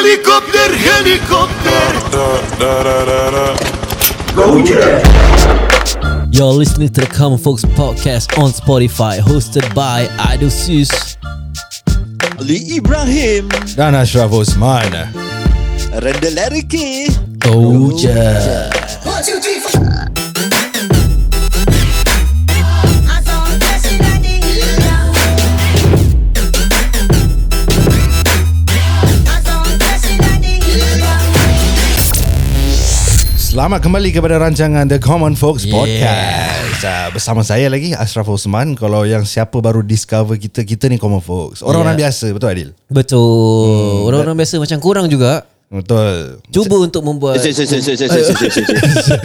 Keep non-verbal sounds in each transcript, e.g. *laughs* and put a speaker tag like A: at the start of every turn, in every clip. A: Helikopter, helikopter.
B: You're listening to the Common Folks podcast on Spotify, hosted by Idol Sus.
C: Ali Ibrahim
D: Dan Ashraf Osman
C: Randall
B: Eh,
C: Larike
B: Go je.
E: I saw a person that they I saw a person that they
D: Selamat kembali kepada rancangan The Common Folks yeah. Podcast uh, Bersama saya lagi Ashraf Osman Kalau yang siapa baru discover kita Kita ni Common Folks Orang-orang
F: Ya.
B: Yeah.
D: yeah. biasa Betul Adil? Hmm.
B: Betul. Orang-orang biasa macam korang juga
D: Betul
B: cuba untuk membuat
C: Cik, cik, cik, cik, cik, cik, cik, cik, cik.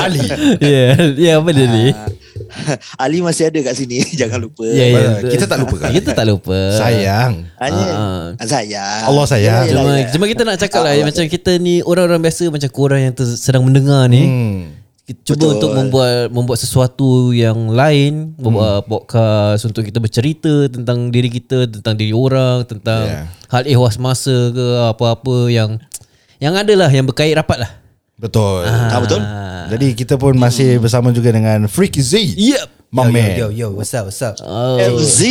B: *laughs*
D: Ali Ah,
B: Ya, ya apa dia ni?
C: *laughs* Ali masih ada kat sini *laughs* Jangan lupa
B: Ya, ya.
D: Kita tak lupakan.
B: Kita tak lupa.
F: Eh.
D: Sayang
C: Ali
B: Ah.
C: Sayang
D: Allah sayang.
C: Yelah,
B: Cuma,
C: yelah.
B: cuma kita nak cakap
D: Ah.
B: lah Macam kita ni Orang-orang biasa Macam korang yang ter, sedang mendengar ni
D: hmm.
B: kita Cuba
C: Betul.
B: untuk membuat Membuat sesuatu yang lain Membuat podcast Untuk kita bercerita Tentang diri kita Tentang diri orang Tentang
D: Yeah.
B: Hal ehwas masa ke Apa-apa yang Yang adalah Yang berkait rapat lah
D: Betul
C: Ah, Betul
D: Jadi kita pun masih
F: Hmm.
D: bersama juga dengan Freaky Z
B: Yep
D: My man
F: Yo, yo, what's up, what's up?
B: oh.
C: MZ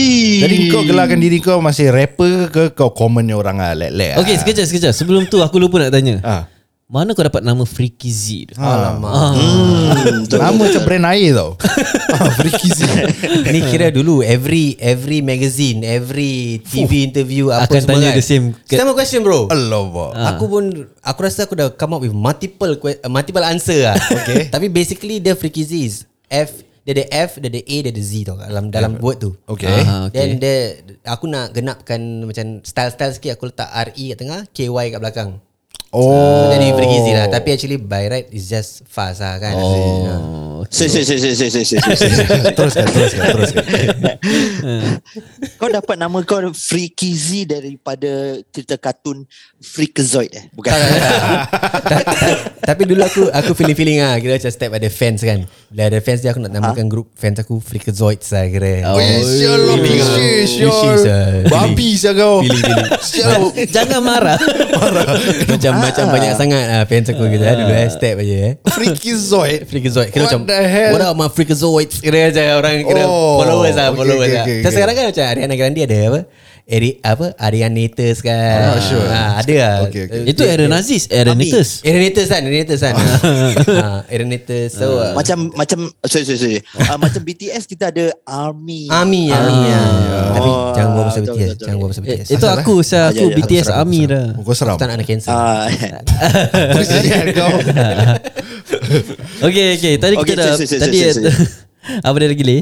D: Jadi kau gelarkan diri kau Masih rapper ke Kau commonnya orang lah Lek-lek ah?
B: Okay sekejap sekejap Sebelum tu aku lupa nak tanya
D: Ah.
B: Mana kau dapat nama Freaky Z tu?
D: Alamak.
B: Ah.
D: Hmm.
F: Hmm,
D: Nama macam brand air
F: *laughs*
D: tau ah, Freaky Z
F: *laughs* Ni kira dulu every every magazine, every TV interview apa
B: Akan
F: semua
B: tanya
F: kan.
B: the same ke- Ah.
F: Sama question bro.
D: Allah
F: Aku pun aku rasa aku dah come up with multiple que- uh, multiple
B: *laughs*
F: answer lah. okay. Tapi basically dia freaky Z's. F dia ada F, dia ada A, dia ada Z tau kat dalam dalam word tu. Ah.
D: Okay.
B: Aha, okay.
F: Then dia aku nak genapkan macam style-style sikit aku letak RE kat tengah, KY kat belakang.
D: Oh
F: So, jadi freaky Z lah. Tapi actually by right is just fast lah kan. Oh.
C: Cik, cik, cik, cik, cik, cik, cik, cik, cik.
D: teruskan, teruskan, teruskan.
C: Kau dapat nama kau Freaky Z Daripada cerita kartun Freakazoid eh Bukan
F: Ta- ta- Tapi dulu aku aku feeling-feeling ah kira macam step ada fans kan. Bila ada fans dia aku nak namakan group fans aku Freakazoids lah kira.
B: Oh,
D: Sial
F: feeling ah. Wishing, ah.
D: Babi sial kau
F: Feeling feeling.
D: Sial
B: *laughs* Jangan marah
F: macam macam banyak sangat ah fans aku kira dulu eh step aja eh.
D: Freaky Zoid
F: Freakazoid Kira
D: What
F: macam
D: the hell?
F: What up my Freakazoids Kira macam orang Kira
D: Oh,
F: followers lah
D: okay,
F: Followers
D: okay,
F: lah
D: okay,
F: Terus
D: okay.
F: sekarang kan macam Ariana Grande ada apa Eri, apa Arianators kan ah, sure. Ada lah
D: Okay, okay.
B: Itu Aaron Aziz Aaron
C: Tapi-
B: Nichols
F: Arianators kan Arianators kan *laughs* Ah, Arianators So ah,
C: *laughs* Macam Macam Sorry sorry sorry Ah, Macam BTS kita ada Army
F: Army ah. Army ah. Tapi
C: Oh,
F: jangan buat pasal
C: betul,
F: BTS
C: betul,
F: Jangan buat pasal
B: Eh,
F: BTS
B: Itu
D: Asal,
B: aku saya
C: Ah, ya,
B: Aku
C: ya.
B: BTS
F: Aku
B: Army
F: seram,
B: dah
D: Oh, Kau seram
F: Aku tak nak kena cancel
C: Ah,
D: Freaky Zoid
F: *laughs*
D: kau
B: Okay okay Tadi
C: Okay,
B: kita dah
C: sip, sip, sip,
B: Tadi
C: sip, sip.
B: *laughs* Apa dia lagi leh?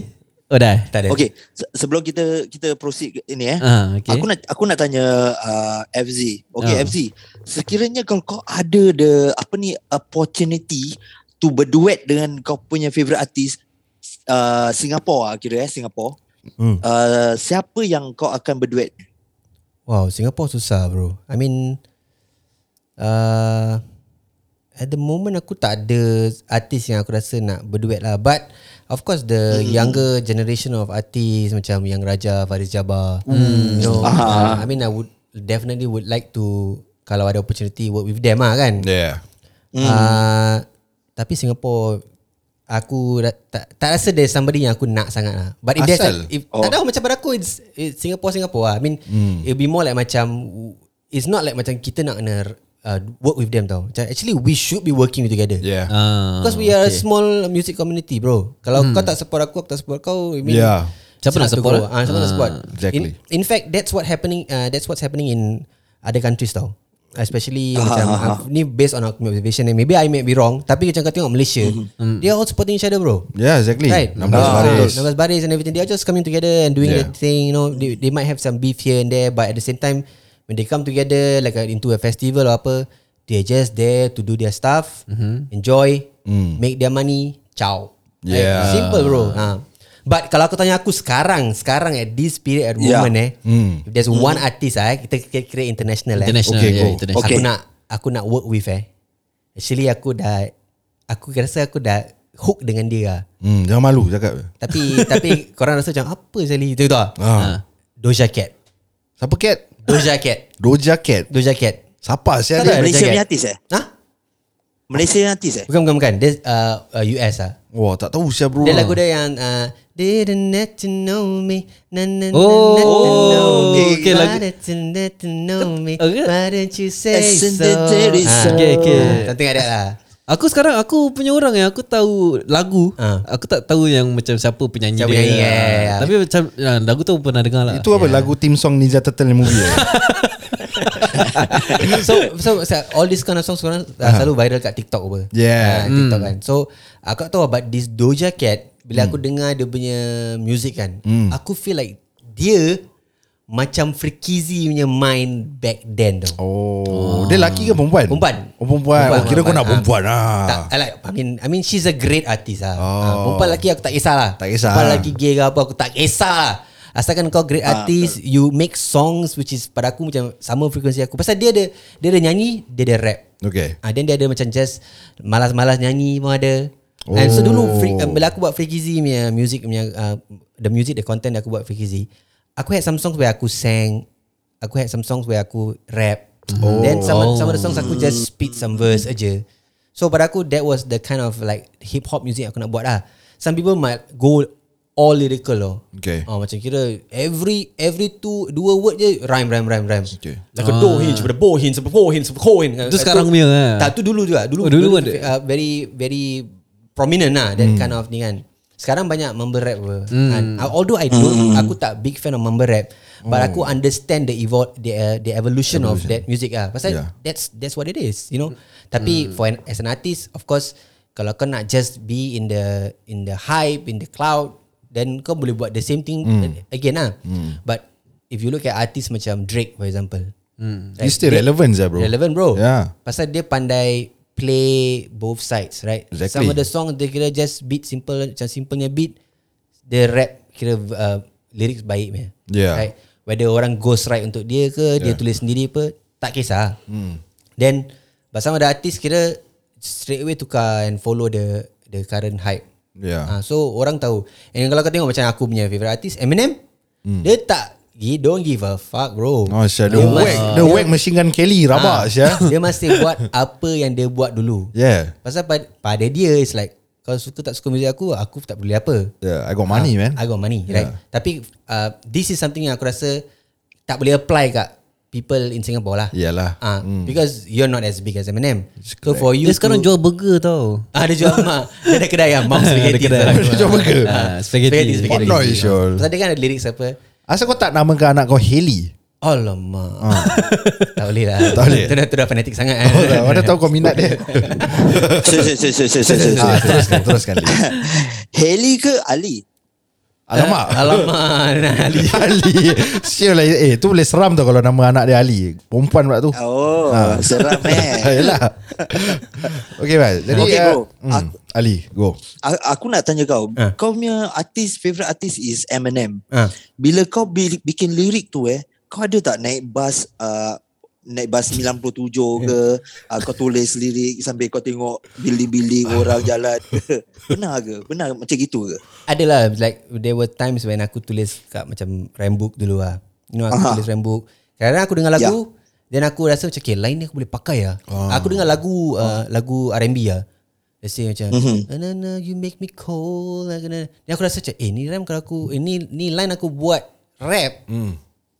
B: Oh dah
F: Tak ada
C: Okay, se- sebelum kita kita proceed ke ini eh.
F: *laughs*
B: Ah, okay.
C: Aku nak aku nak tanya uh, FZ. Okay,
B: Ah.
C: FZ. Sekiranya kalau kau ada the apa ni opportunity to berduet dengan kau punya favorite artist uh, Singapore ah kira eh Singapore.
F: Hmm.
C: Uh, siapa yang kau akan berduet?
F: Wow Singapore susah bro I mean uh, At the moment aku tak ada Artis yang aku rasa nak berduet lah But Of course the hmm. younger generation of artists Macam Yang Raja, Faris Jabbar hmm. You know uh, I mean I would Definitely would like to Kalau ada opportunity work with them lah kan
D: Yeah
F: Hmm. Uh, tapi Singapore aku ra- tak, tak rasa there's somebody yang aku nak sangat lah. But if there's
D: Asal?
F: a- if, oh. tak tahu macam pada aku it's, it's Singapore Singapore lah. I mean hmm. it'll be more like macam it's not like macam kita nak kena uh, work with them tau. Macam actually we should be working together.
D: Yeah
B: Ah,
F: Because we are a small music community bro. Kalau hmm. kau tak support aku aku tak support kau. I mean,
D: Yeah.
B: Siapa nak
F: it's hard to
B: support?
F: grow. Ah, siapa nak support?
D: exactly.
F: In, in fact that's what happening uh, that's what's happening in other countries tau. Especially macam uh, ni based on aku punya observation ni. Maybe I may be wrong tapi macam kau tengok Malaysia, they are all supporting each other bro.
D: Yeah exactly
F: Right.
D: 16 baris
F: Betul. 16 baris and everything. They are just coming together and doing
D: Yeah.
F: yeah. that thing. You know, they, they might have some beef here and there, but at the same time, when they come together like a, into a festival or apa, they're just there to do their stuff, mm-hmm. enjoy, mm. make their money, ciao. Like,
D: Yeah.
F: simple bro. Ha. But kalau aku tanya aku sekarang, sekarang at this period at
C: Yeah.
F: yeah. moment eh, mm. if there's mm. one artist ah, eh, kita kira- kira international,
B: International
D: Okay,
B: ya,
D: go.
B: international.
F: Okay.
C: Okay.
F: Aku nak aku nak work with eh. Actually aku dah aku rasa aku dah hook dengan dia lah.
D: hmm, Jangan malu cakap
F: Tapi tapi korang rasa macam apa Sally itu tu ah.
D: ah.
F: Doja Cat.
D: Siapa Cat?
F: Doja Cat.
D: Doja Cat
F: Doja Cat.
D: Siapa siapa
F: Tak
D: dia?
F: ada.
C: Malaysia
F: Jagat.
C: punya artis eh?
F: Hah?
C: Malaysia punya artis
F: *laughs*
C: eh?
F: Bukan bukan bukan. Dia uh, uh, US ah.
D: Wah tak tahu siapa bro
F: Dia lagu dia yang uh, Didn't let you know me na, na, na,
B: Oh,
F: na, na, know me.
B: okay,
F: Why
B: lagu-
F: didn't let you know me
B: Okay.
F: Why didn't you say
C: Isn't
F: so
C: it very so?
B: Okay, okay.
F: Something like that lah
B: Aku sekarang aku punya orang yang aku tahu lagu,
F: Ah.
B: aku tak tahu yang macam siapa penyanyi
F: Siapa
B: dia.
F: penyanyi,
B: Ah,
F: yeah, yeah.
B: Tapi macam ya, lagu tu pernah dengar lah.
D: Itu apa lagu theme song Ninja Turtle yang movie eh?
F: so, so so all this kind of songs sekarang uh, selalu viral kat TikTok apa.
D: Yeah. Hmm.
F: Ah, TikTok kan. So aku tak tahu about this Doja Cat bila aku dengar dia punya music kan,
D: Hmm.
F: aku feel like dia macam Freakizi punya mind back then tau.
D: Oh, dia lelaki ke perempuan?
F: Perempuan.
D: Oh, perempuan. perempuan. Oh, kira kau nak perempuan ah.
F: Tak, I like, I mean, I mean she's a great artist lah.
D: Oh.
F: Ah, perempuan lelaki aku tak kisah lah.
D: Tak kisah.
F: Perempuan lelaki gay ke apa aku tak kisah lah. Asalkan kau great
D: Ah,
F: artist, you make songs which is pada aku macam sama frekuensi aku. Pasal dia ada dia ada nyanyi, dia ada rap.
D: Okay.
F: Ah, then dia ada macam just malas-malas nyanyi pun ada. Oh. And so dulu free, uh, bila aku buat Freakizy punya music punya uh, the music the content that aku buat Freakizy, aku had some songs where aku sang, aku had some songs where aku rap. Oh. Then some oh. some of the songs aku just spit some verse aja. So pada aku that was the kind of like hip hop music aku nak buat lah. Some people might go all lyrical loh.
D: Okay.
F: Oh, macam kira every every two dua word je rhyme rhyme rhyme rhyme.
D: Okay.
F: Like a do hinge, but a bo hinge, but a ho hinge, but a ho hinge.
B: Ah. Itu sekarang punya, eh?
F: Tak, tu dulu juga. Dulu,
B: Oh, dulu
F: dulu
B: ada? Hmm.
F: uh, very very prominent lah that kind of ni kan. Sekarang banyak mumble rap apa. Mm. although I don't, aku tak big fan of mumble rap, but
B: Hmm.
F: aku understand the evolve the uh, the evolution, of that music ah. Pasal
D: Yeah.
F: that's that's what it is, you know.
B: Hmm.
F: Tapi for an, as an artist, of course, kalau kau nak just be in the in the hype, in the cloud, then kau boleh buat the same thing
B: Hmm.
F: again lah. But if you look at artists macam Drake for example,
B: Hmm.
F: mm.
D: He's still relevant sah bro.
F: Relevant bro
D: Yeah.
F: Pasal dia pandai Play both sides right
D: Exactly.
F: Some of the songs Dia kira just beat simple Macam simplenya beat Dia rap Kira uh, Lyrics baik punya
D: Yeah.
F: Right Whether orang ghost write untuk dia ke
D: Yeah.
F: Dia tulis sendiri apa Tak kisah hmm. Then Pasal ada artis kira Straight away tukar And follow the The current hype
D: Yeah.
F: Ah, So orang tahu And kalau kau tengok Macam aku punya favourite artist Eminem hmm. Dia tak He don't give a fuck bro
D: Oh, Syah, the
F: Dia
D: whack,
F: mas-
D: the whack machine gun Kelly rabak Syah.
F: Ah. *laughs* dia masih buat apa yang dia buat dulu.
D: Yeah.
F: Pasal pada, pada dia it's like kalau suka tak suka muzik aku, aku tak peduli apa.
D: Yeah, I got money man.
F: Ah, I got money, yeah. right? Tapi uh, this is something yang aku rasa tak boleh apply kat people in Singapore lah.
D: Yalah.
F: Ah,
D: Hmm.
F: mm. because you're not as big as Eminem. So for you
B: Dia sekarang
F: to,
B: jual burger tau.
F: Ah, dia jual mak. Dia ada kedai yang
D: *laughs*
F: Mom Spaghetti.
B: kedai.
F: sekarang.
D: Dia jual burger?
F: Ah,
B: Spaghetti.
D: What noise, Syul?
F: Pasal dia kan ada lyrics apa?
D: Asal kau tak namakan anak kau Haley?
F: Alamak. *laughs* tak boleh lah.
D: Ah. Tak boleh.
F: Itu dah, tu dah fanatik sangat. kan.
D: Oh, tak,
F: *laughs*
D: mana tahu kau minat dia.
C: So, so, so, so, so, so, so, so.
F: *laughs*
D: ah, teruskan, teruskan. Lee.
C: Haley ke Ali?
D: Alamak.
F: Ah, *laughs* Alamak.
D: Ali. Ali. Syah lah. Eh, tu boleh seram tau kalau nama anak dia Ali. Perempuan pula tu.
F: Ah.
C: Oh, seram
F: *laughs*
C: eh.
D: Yalah. Okay, Mal. Jadi,
C: Okay,
D: ah,
C: bro.
D: mm,
C: Aku-
D: Ali, go.
C: A- Aku nak tanya kau,
F: Ah.
C: kau punya artis, favorite artist is Eminem.
F: Ah.
C: Bila kau bi- bikin lirik tu eh, kau ada tak naik bas uh, naik bas 97 ke
F: Ya.
C: uh, kau tulis lirik sambil kau tengok bilik-bilik
F: *laughs*
C: orang jalan ke? Benar ke? Benar macam gitu ke?
F: Adalah like there were times when aku tulis kat macam rhyme book dulu lah. You know aku
C: Aha.
F: Aha. tulis rhyme book. Kadang-kadang aku dengar lagu then aku rasa macam okay line ni aku boleh pakai lah. Aku dengar lagu uh, lagu R&B lah. Let's say macam na na na you make me cold. Like, na, na. Then aku rasa macam eh ni rhyme kalau aku eh, ni ni line aku buat rap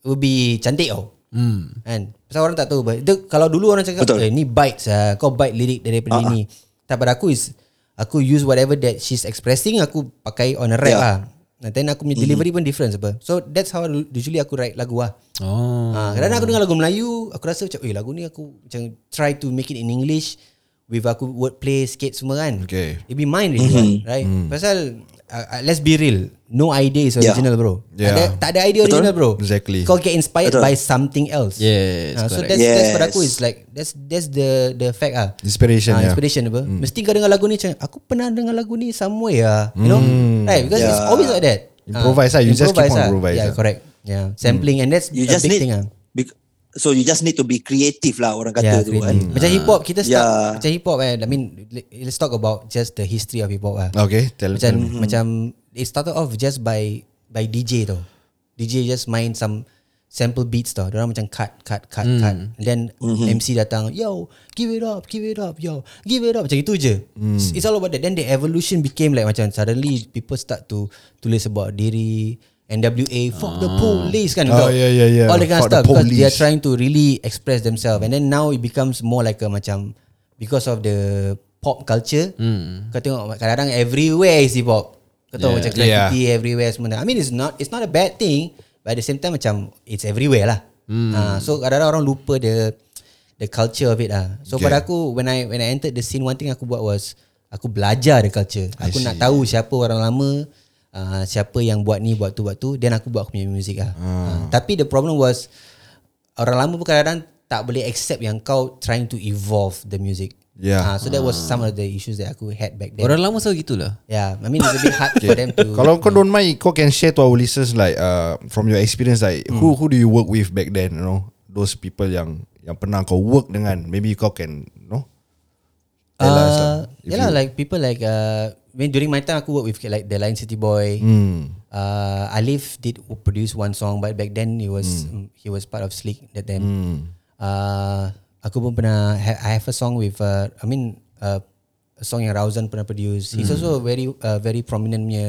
F: will be cantik tau. Hmm. Kan? Pasal orang tak tahu but dia, kalau dulu orang cakap
C: Betul. Ah,
F: eh ni bites lah. Kau bite lirik daripada uh-huh. ni. Tak pada aku is aku use whatever that she's expressing aku pakai on a rap
C: Yeah. Mm-hmm.
F: lah. And then aku punya delivery pun different apa. So that's how usually aku write lagu lah.
B: Oh.
F: Ha, kadang-kadang aku dengar lagu Melayu, aku rasa macam, eh lagu ni aku macam try to make it in English with aku wordplay sikit semua kan.
D: Okay.
F: It be mine really, mm-hmm. right? Mm. Pasal, uh, uh, let's be real, no idea is
C: Yeah.
F: original yeah. bro.
D: Yeah.
F: Ada, tak ada idea original bro.
D: Exactly.
F: Kau get inspired
C: Betul.
F: Betul. by something else.
B: Yes,
F: Ah, so
B: correct.
F: that's, yes. that's pada
C: Yes.
F: aku is like, that's that's the the fact ah.
D: Inspiration,
F: Ah,
D: yeah. Hmm.
F: Inspiration apa. Mm. Mesti kau dengar lagu ni macam, aku pernah dengar lagu ni somewhere ah. You know? Right, because
C: Yeah.
F: it's always like that. Ah,
D: Hmm. Improvise lah, you just keep
F: improvise
D: on
F: lah.
D: improvise
F: Yeah,
D: lah.
F: correct. Yeah, sampling and that's
C: You
F: a
C: just
F: big
C: need
F: thing ah.
C: be- so you just need to be creative lah orang
F: yeah,
C: kata tu kan.
F: creative. Macam hip hop kita start
C: Yeah.
F: macam hip hop eh. I mean le- let's talk about just the history of hip hop lah.
D: Okay, tell
F: Macam
D: tell me.
F: macam it started off just by by DJ tau. DJ just main some sample beats tau. Diorang macam cut cut cut
D: Hmm.
F: mm. cut. And then mm-hmm. MC datang, "Yo, give it up, give it up, yo. Give it up." Macam itu je.
D: Hmm.
F: Mm. It's all about that. Then the evolution became like macam suddenly people start to tulis about diri NWA fuck the police kan
D: Oh, yeah, yeah, yeah.
F: all that kind of
D: Fuck the
F: stuff because they are
D: police.
F: trying to really express themselves and then now it becomes more like a macam because of the pop culture mm. kau tengok kadang-kadang everywhere is hip hop kau tahu yeah. macam graffiti yeah. everywhere semua I mean it's not it's not a bad thing but at the same time macam it's everywhere lah mm. uh, so kadang-kadang orang lupa the the culture of it lah so
D: Okay.
F: okay. pada aku when I when I entered the scene one thing aku buat was aku belajar the culture aku nak tahu siapa orang lama uh, siapa yang buat ni buat tu buat tu then aku buat aku punya music lah uh, tapi the problem was orang lama pun kadang-kadang tak boleh accept yang kau trying to evolve the music
D: Yeah.
F: Ah, so that was some of the issues that aku had back then
B: Orang lama selalu gitulah.
F: yeah I mean it's a bit
D: *laughs*
F: hard for them to
D: Kalau kau don't mind Kau can share to our listeners Like uh, From your experience Like who
F: Hmm.
D: who do you work with Back then you know Those people yang Yang pernah kau work dengan Maybe kau can You know tell us lah,
F: Uh,
D: if
F: yeah lah,
D: you-
F: like people like uh, when during my time aku work with like the Lion City Boy.
D: Hmm,
F: Uh, Alif did w- produce one song, but back then he was mm. he was part of Slick that time. Uh, aku pun pernah ha- I have a song with uh, I mean uh, a song yang Rauzan pernah produce. He's also a very uh, very prominent punya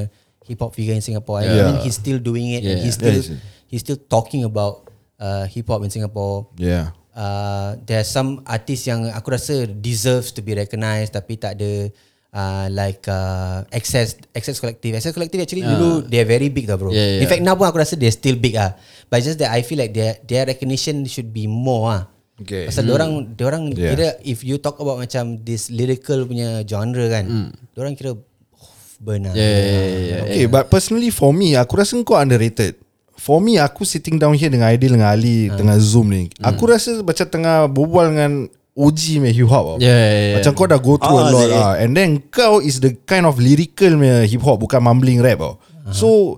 F: hip hop figure in Singapore. I mean
D: Yeah.
F: he's still doing it. And
B: Yeah.
F: he's still
D: Yeah, he's-
F: he's still talking about uh, hip hop in Singapore
D: Yeah
F: uh, there are some artists yang aku rasa deserves to be recognised tapi tak ada uh, like uh, access access collective access collective actually uh. dulu they are very big lah bro
B: Ah. Yeah, yeah.
F: in fact now pun aku rasa they are still big ah but it's just that I feel like their their recognition should be more ah
D: Okay.
B: Hmm.
F: pasal orang orang
D: Yeah.
F: kira if you talk about macam this lyrical punya genre kan orang kira oh, benar
B: Hmm. Yeah, yeah, yeah, yeah.
D: Okay but personally for me Aku rasa kau underrated For me aku sitting down here Dengan Aidil Dengan Ali
B: Ah.
D: Tengah zoom ni
B: Hmm.
D: Aku rasa macam tengah Berbual dengan OG punya hip hop tau.
B: Yeah, yeah, yeah.
D: Macam kau dah go through
C: Ah,
D: a lot
C: Zee.
D: ah. And then kau is the kind of lyrical punya hip hop Bukan mumbling rap tau
B: Ah.
D: So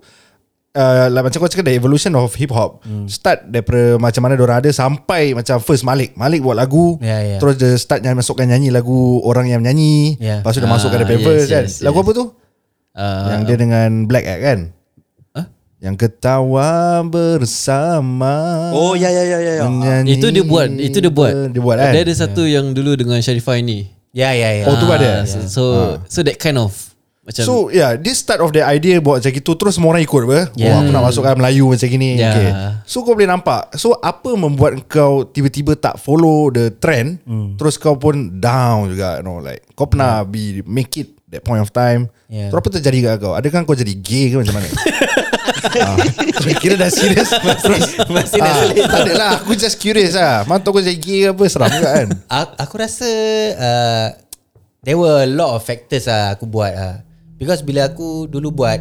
D: uh, like, Macam kau cakap The evolution of hip hop
B: Hmm.
D: Start daripada Macam mana diorang ada Sampai macam first Malik Malik buat lagu
F: Yeah, yeah.
D: Terus dia start nyanyi, Masukkan nyanyi lagu Orang yang nyanyi
F: Yeah.
D: Lepas tu dia
B: Ah,
D: masukkan daripada
B: yes,
D: verse kan
B: yes,
D: Lagu
B: yes.
D: apa tu?
B: Uh,
D: Yang dia dengan Black Act kan Yang ketawa bersama
C: Oh ya ya ya ya. ya.
D: menyanyi
B: itu dia buat, itu dia buat.
D: Dia buat kan
B: Dia ada
F: Ya.
B: satu yang dulu dengan Sharifah ni.
F: yeah yeah yeah
D: Oh, tu ada?
B: Ah, So so, so that kind of macam
D: So yeah This start of the idea Buat macam itu Terus semua orang ikut apa yeah.
F: Yeah.
D: Oh aku nak masukkan Melayu macam gini
B: Yeah.
D: okay. So kau boleh nampak So apa membuat kau Tiba-tiba tak follow The trend Terus kau pun Down juga you know, like, Kau pernah be Make it That point of time
F: Yeah.
D: Terus apa terjadi kat kau Adakah kau jadi gay ke macam mana Ah. Kira dah serius Terus
F: masih
D: ah, Tak ada lah Aku just curious lah Mana tahu kau jadi gay ke apa Seram juga kan
F: aku, aku rasa uh, there were a lot of factors lah aku buat lah. Because bila aku dulu buat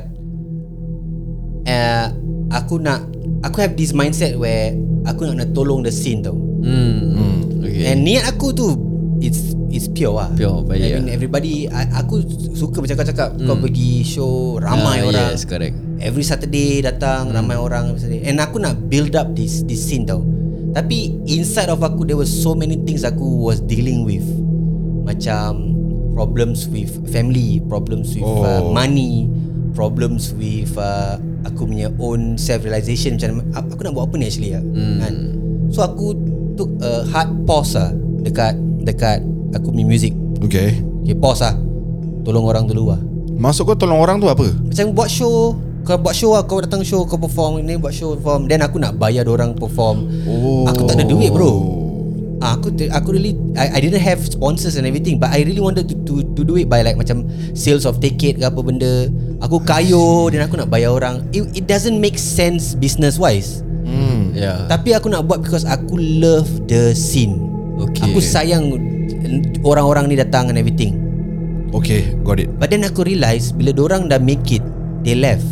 F: uh, aku nak aku have this mindset where aku nak nak tolong the scene tau.
B: hmm, hmm, okay.
F: Okay. And niat aku tu it's it's pure lah.
B: Pure, baik
F: I mean,
B: lah.
F: everybody I, aku suka macam kau cakap kau pergi show ramai
B: Ah,
F: orang.
B: Yes, correct.
F: Every Saturday datang ramai orang every Saturday. And aku nak build up this this scene tau. Tapi inside of aku there were so many things aku was dealing with. Macam problems with family, problems with oh. uh,
D: Oh.
F: money, problems with uh, aku punya own self realization macam ap- aku nak buat apa ni actually lah, kan. So aku took a hard pause lah dekat dekat aku punya music.
D: Okay
F: Okay, pause lah. Tolong orang dulu lah.
D: Masuk kau tolong orang tu apa?
F: Macam buat show Kau buat show lah Kau datang show Kau perform Ni buat show perform Then aku nak bayar orang perform oh. Aku tak ada duit bro Ah, Aku aku really I, I didn't have sponsors and everything But I really wanted to, to to do it by like Macam sales of ticket ke apa benda Aku kayu Dan aku nak bayar orang It, it doesn't make sense business wise
B: Yeah.
F: Hmm. Tapi aku nak buat Because aku love the scene
B: Okay.
F: Aku sayang Orang-orang ni datang and everything
D: Okay got it
F: But then aku realise bila orang dah make it, they left.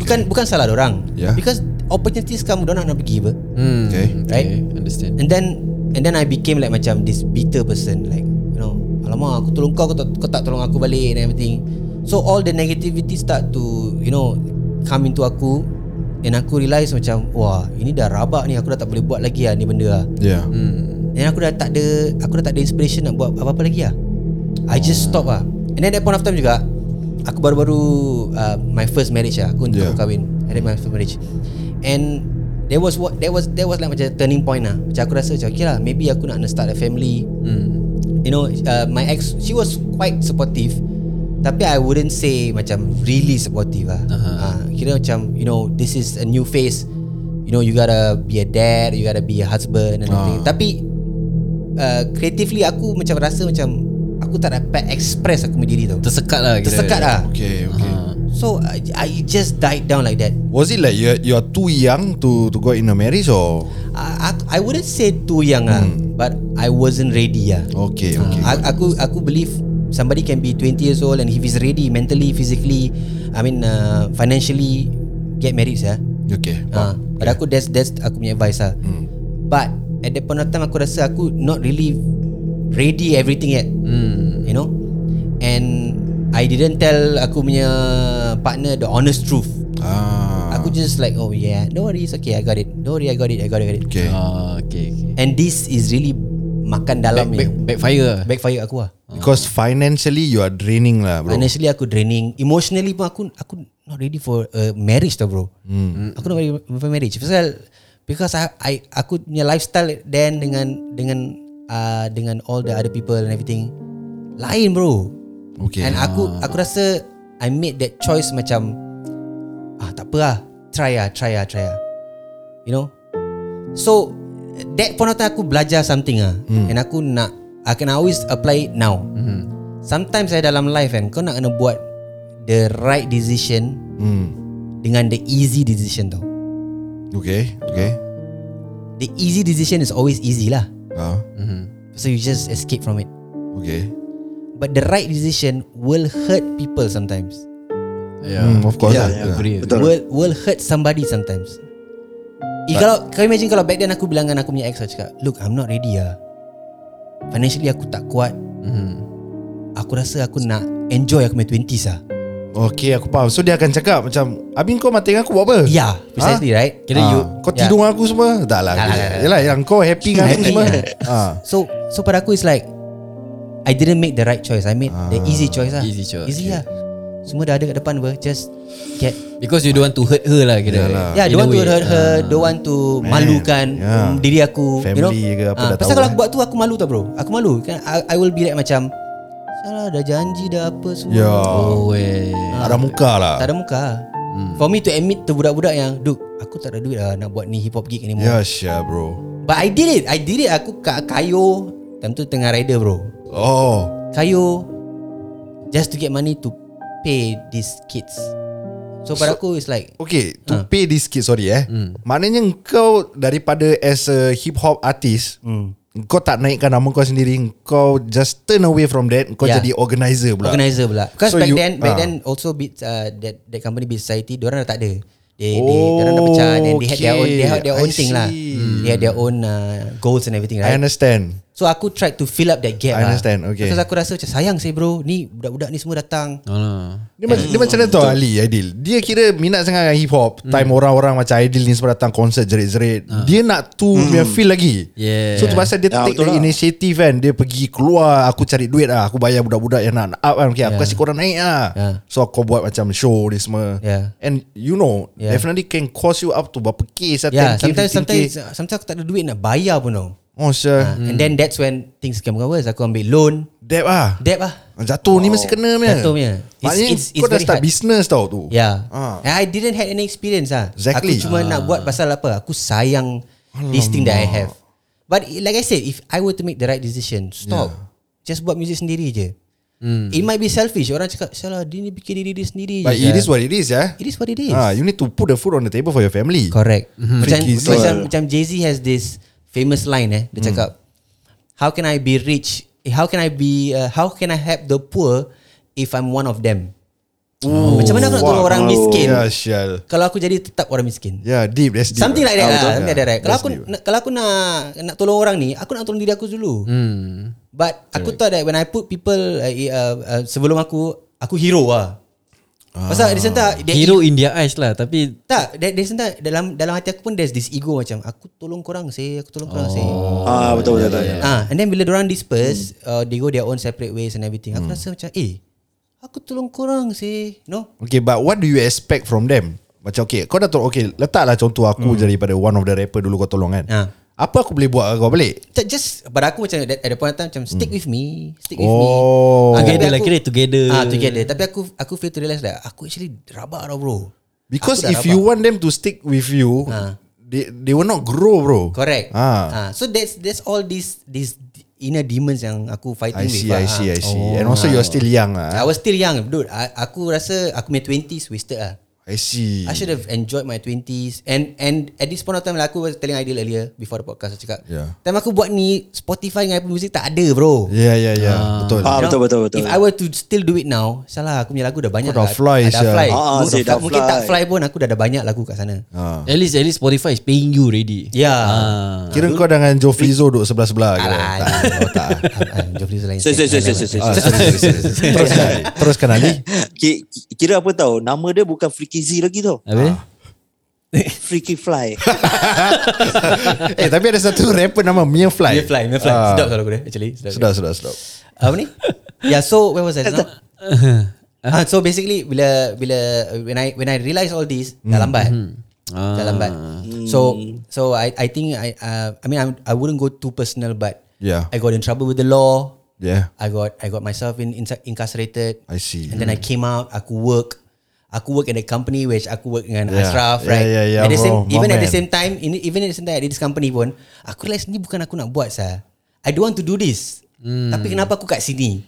F: Bukan bukan salah orang.
D: Yeah.
F: Because opportunities come dorang nak pergi apa.
B: Hmm,
D: Okay.
F: Right?
B: Understand.
F: And then and then I became like macam this bitter person like you know, alamak aku tolong kau kau tak, kau tak tolong aku balik and everything. So all the negativity start to you know come into aku and aku realise macam wah ini dah rabak ni aku dah tak boleh buat lagi lah ni benda lah.
D: Yeah
F: And aku dah tak ada Aku dah tak ada inspiration Nak buat apa-apa lagi lah I just stop lah And then at that point of time juga Aku baru-baru uh, My first marriage lah Aku,
D: Yeah.
F: yeah. aku kahwin I had my first marriage And There was what there was there was like macam turning point lah. Macam aku rasa macam okay lah maybe aku nak nak start a family.
B: Hmm.
F: You know, uh, my ex she was quite supportive. Tapi I wouldn't say macam really supportive lah. Uh-huh. Uh, kira macam you know this is a new phase. You know you gotta be a dad, you gotta be a husband and everything. Tapi uh, creatively aku macam rasa macam aku tak dapat express aku punya diri tau.
B: Tersekat lah kira.
F: Tersekat lah.
D: Okay, okay.
F: So I, I just died down like that.
D: Was it like you you are too young to to go in a marriage or
F: I, I, I wouldn't say too young lah, but I wasn't ready lah.
D: okay okay?
F: Okay. Aku aku believe somebody can be 20 years old and if he's ready mentally, physically, I mean uh, financially, get married sah.
D: Okay.
F: Ha, pada aku that's that's aku punya advice lah. Hmm. But at that point of time aku rasa aku not really ready everything yet. Hmm. You know? And I didn't tell aku punya partner the honest truth.
D: Ah.
F: Aku just like oh yeah, no worries, okay I got it. No worry I got it. I got it. I got it.
D: Okay.
B: Ah, okay, okay.
F: And this is really makan
B: Back,
F: dalam
B: back,
F: back,
B: backfire lah.
F: backfire aku lah.
D: Because financially you are draining lah, bro.
F: Financially aku draining Emotionally pun aku Aku not ready for a marriage tau bro hmm. Aku not ready for marriage Pasal Because I, I Aku punya lifestyle Then dengan Dengan uh, Dengan all the other people And everything Lain bro
D: Okay.
F: And aku Aku rasa I made that choice macam Ah tak apa lah Try lah Try lah Try lah You know So That point of time aku belajar something lah hmm. And aku nak I can always apply it now hmm. Sometimes saya dalam life kan Kau nak kena buat The right decision
D: Hmm.
F: Dengan the easy decision tau
D: Okay. Okay.
F: The easy decision is always easy lah
D: Ah.
F: So you just escape from it
D: Okay.
F: But the right decision Will hurt people sometimes
B: Yeah.
D: Hmm, of course. lah.
C: Yeah, yeah.
D: Yeah.
B: Agree.
C: Betul.
F: will will hurt somebody sometimes. Eh, kalau kau imagine kalau back then aku bilang dengan aku punya ex aku cakap, "Look, I'm not ready ah. Financially aku tak kuat.
D: Mhm.
F: Aku rasa aku nak enjoy aku punya 20s ah."
D: Okay, aku faham. So dia akan cakap macam, "Abin kau mati dengan aku buat apa?"
F: Yeah, Ya, precisely
D: Ah?
F: right? Ah. Ya.
D: Kira you kau
F: Yeah.
D: tidur dengan aku semua. Tak lah.
F: Tak lah, tak lah.
D: Yalah, yang kau happy dengan aku
F: Happy,
D: semua.
F: yeah.
D: Ah.
F: So so pada aku it's like I didn't make the right choice. I made the
D: Ah.
F: easy choice lah.
B: Easy choice,
F: Easy lah. Semua dah ada kat depan apa. Just get
B: Because you don't want to hurt her lah kira.
D: Yalah.
F: Yeah,
B: In a
F: don't want Ya, to
B: way. Ah.
F: hurt her, don't want to
D: Ah. Man,
F: malukan
D: yeah.
F: um, diri aku, you know.
D: Family ke apa
F: Ah,
D: dah
F: pasal
D: tahu,
F: kalau
D: eh.
F: aku buat tu aku malu tau bro. Aku malu kan I, I will be like macam salah dah janji dah apa semua.
D: Ya.
B: Oh, weh.
D: Tak ada muka lah.
F: Tak ada muka. Hmm. For me to admit to budak-budak yang Duk aku tak ada duit lah nak buat ni hip hop gig anymore.
D: Ya, Syah bro.
F: But I did it. I did it. Aku kat kayu time tu tengah rider bro.
D: Oh.
F: Kayu just to get money to pay these kids. So, pada aku it's like
D: Okay To ha. pay this kid Sorry eh hmm. Maknanya kau Daripada as a hip hop artist hmm. Kau tak naikkan nama kau sendiri Kau just turn away from that Kau
F: Yeah.
D: jadi Ya. organizer pula
F: Organizer pula
D: So
F: Because so back
D: you-
F: then
D: ah.
F: Back then also Beat uh, that, that company Beat Society Diorang dah tak ada They, oh, they Diorang dah pecah Then they had their own They had their own
D: Okay, I
F: thing lah
D: see.
F: They had their own uh, Goals and everything
D: I
F: right
D: understand
F: So aku tried to fill up that gap
D: I understand,
F: lah.
D: okay.
F: Because aku rasa macam Sayang saya bro Ni budak-budak ni semua datang
B: Alah.
D: dia, macam, dia macam mana tau Ali Aidil Dia kira minat sangat dengan hip hop
F: Hmm.
D: Time orang-orang macam Aidil ni Semua datang konsert jerit-jerit
F: Ah.
D: Dia nak tu punya feel lagi
B: Yeah.
D: So tu pasal dia
C: Hmm. Ya,
D: take
C: betul
D: the
C: lah.
D: initiative kan Dia pergi keluar Aku cari duit lah Aku bayar budak-budak yang nak up kan okay, Aku kasih korang naik lah
F: Ya.
D: So aku buat macam show ni semua
F: Ya.
D: And you know
F: Ya.
D: Definitely can cost you up to Berapa K Satu 10K
F: Yeah, Ya, sometimes,
D: 15K
F: sometimes, sometimes aku tak ada duit nak bayar pun tau.
D: Oh
F: Ah,
D: sure
F: And then that's when things came worse. Aku ambil loan,
D: Debt lah
F: debt lah.
D: Jatuh ni mesti kena punya
F: Jatuh punya. It's-
D: Maknanya
F: it's- it's
D: kau dah
F: very
D: start
F: hard.
D: business tau tu
F: Yeah.
D: Ah.
F: Ya. And I didn't had any experience ah.
D: Exactly. Ah.
F: Aku cuma nak buat pasal apa? Aku sayang this thing that I have. But i- like I said, if I were to make the right decision, stop. Just buat music sendiri je. It might be selfish. Orang cakap, "Salah, dia ni bikin diri dia sendiri."
D: Hmm. But
F: je,
D: it
F: sah."
D: is what it is ya.
F: It is what it is.
D: Ah, you need to put the food on the table for your family.
F: Correct. Macam
D: Freaky Hmm.
F: macam,
D: stuff.
F: macam macam Jay-Z has this famous line eh. Dia cakap, "How can I be rich? How can I be uh, how can I help the poor if I'm one of them?" Macam mana aku nak tolong
D: Wow.
F: orang miskin?
D: Ya, syal.
F: Kalau aku jadi tetap orang miskin.
D: Ya, deep, that's deep.
F: Something like that lah.
D: betul.
F: Something like that, right?
D: Yeah,
F: Kalau
D: that's
F: aku
D: deep.
F: nak, kalau aku nak nak tolong orang ni, aku nak tolong diri aku dulu.
B: Hmm.
F: But aku thought that when I put people uh, uh, uh, sebelum aku, aku hero lah. Pasal at the same time,
B: Ah.
F: there-
B: Hero in their eyes lah tapi
F: tak, there, there's that, dalam dalam hati aku pun there's this ego macam aku tolong korang sih, aku tolong korang sih.
B: Oh.
C: Ah betul betul. betul.
F: Ah, and then bila orang disperse,
B: Hmm.
F: uh, they go their own separate ways and everything. Aku rasa macam eh, aku tolong korang sih, no?
D: Okay, but what do you expect from them? Macam okay Kau dah tolong Okay letaklah contoh aku hmm. Daripada one of the rapper Dulu kau tolong kan
F: Ha.
D: Apa aku boleh buat kat kau balik
F: Tak, Just pada aku macam At at the point of time Macam stick with me Stick with me
D: Hmm. Oh.
F: Ah, tapi
B: Together lah,
F: aku-
B: kira together.
F: Ah, Together Tapi aku Aku fail to realise that Aku actually rabak tau bro
D: Because
F: Aku dah
D: if you want them to stick with you
F: Ha.
D: They, they will not grow bro
F: Correct.
D: Ah,
F: Ah, so that's that's all these these inner demons yang aku
D: I
F: fighting
D: see
F: with.
D: I
F: ah.
D: see I see And also you're still young
F: I
D: ah.
F: was still young, dude. I, aku rasa aku my 20s wasted ah.
D: I see
F: I should have enjoyed my 20s and and at this point of time like aku was telling Ideal earlier before the podcast aku cakap.
D: Yeah.
F: Time aku buat ni Spotify dengan Apple Music tak ada, bro.
D: Yeah yeah yeah Betul
C: Ah,
F: You know,
C: betul, betul, betul.
F: If I were to still do it now Salah aku punya lagu dah banyak
D: Kau dah
F: lah.
D: fly,
F: Ah, Dah
D: Syah.
F: fly
C: Ah,
F: Mungkin-
C: Zee, dah
F: Mungkin tak
C: fly.
F: fly pun Aku dah ada banyak lagu kat sana
D: Ah.
B: At least at least Spotify is paying you already.
F: Yeah
B: Ah.
D: Kira kau dengan Joe Flizzo Duduk sebelah-sebelah ke?
C: Ah.
F: *laughs* Alah,
D: Tak
F: oh, tak. Jofri selain.
C: Sorry, sorry, sorry, sorry, sorry.
D: Ah, sorry, sorry, sorry. Teruskan Teruskan Ali
C: Ki- ki- Kira apa tau Nama dia bukan Freaky Z lagi tau
F: Eh.
B: Habis?
C: Freaky Fly
D: Eh tapi ada satu rapper Nama Mia Fly
F: Mia *laughs* fly, Mia fly.
D: Ah.
F: Sedap kalau aku dia actually. Sedap.
D: Sedap sedap sedap
F: Apa ni? Yeah, so where was I just now? Ah, so basically bila bila when I when I realise all this dah
D: Hmm.
F: lambat.
C: Hmm.
B: Ah.
F: Dah lambat. So so I I think I uh, I mean I, I wouldn't go too personal but
D: Yeah.
F: I got in trouble with the law.
D: Yeah
F: I got I got myself in, in incarcerated.
D: I see. Mm.
F: And then I came out. Aku work. Aku work in a company which aku work dengan
D: Yeah.
F: Ashraf,
D: Yeah,
F: right?
D: yeah, yeah,
F: At the
D: bro.
F: same,
D: My
F: even at the
D: man.
F: same time, in, even at the same time at this company pun, aku realise ni bukan aku nak buat sah. I don't want to do this. Tapi kenapa aku kat sini?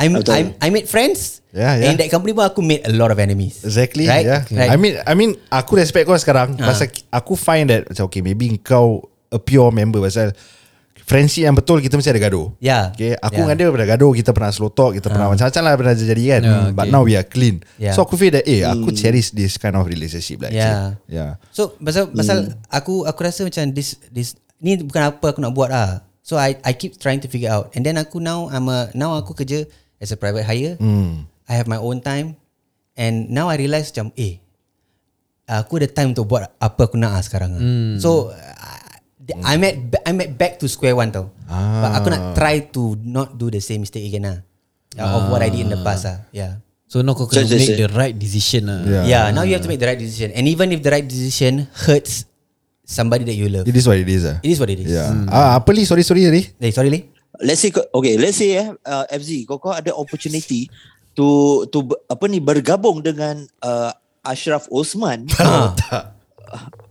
F: I'm,
C: Betul.
F: I'm I made friends.
D: Yeah, yeah.
F: And that company pun aku made a lot of enemies.
D: Exactly
F: Right?
D: yeah.
F: Ah. Right.
D: I mean I mean Aku respect kau sekarang ha. Pasal aku find that Macam okay Maybe kau A pure member Pasal Friendship yang betul Kita mesti ada gaduh
F: Yeah.
D: okay, Aku
F: Yeah.
D: dengan dia pernah gaduh Kita pernah slow talk Kita
F: Ah.
D: pernah macam-macam lah Pernah jadi kan
B: Yeah,
D: But
B: okay.
D: now we are clean
F: Yeah.
D: So aku feel that Eh aku cherish this kind of relationship lah
F: Yeah.
D: actually. Yeah
F: So pasal pasal aku aku rasa macam this this ni bukan apa aku nak buat lah. So I I keep trying to figure out. And then aku now I'm a now aku kerja as a private hire. Mm. I have my own time and now I realise macam eh aku ada time untuk buat apa aku nak ah sekarang. ah. So I- I'm at I'm at back to square one tau. But aku nak try to not do the same mistake again lah. Uh, Of what I did in the past ah. Yeah.
B: So now kau kena
C: Just- just-
B: make the right decision lah.
D: Yeah.
F: Yeah, now you have to make the right decision. And even if the right decision hurts somebody that you love,
D: It is what it is lah
F: it is what it is. Hmm.
D: Yeah. Ah, apa Lee? Sorry, sorry, sorry.
F: Hey, sorry, Lee.
C: Let's say kau- Okay let's say eh uh, FZ Kau kau ada opportunity To to ber- Apa ni Bergabung dengan uh, Ashraf
F: *laughs*
C: Osman Uh,
F: Ah,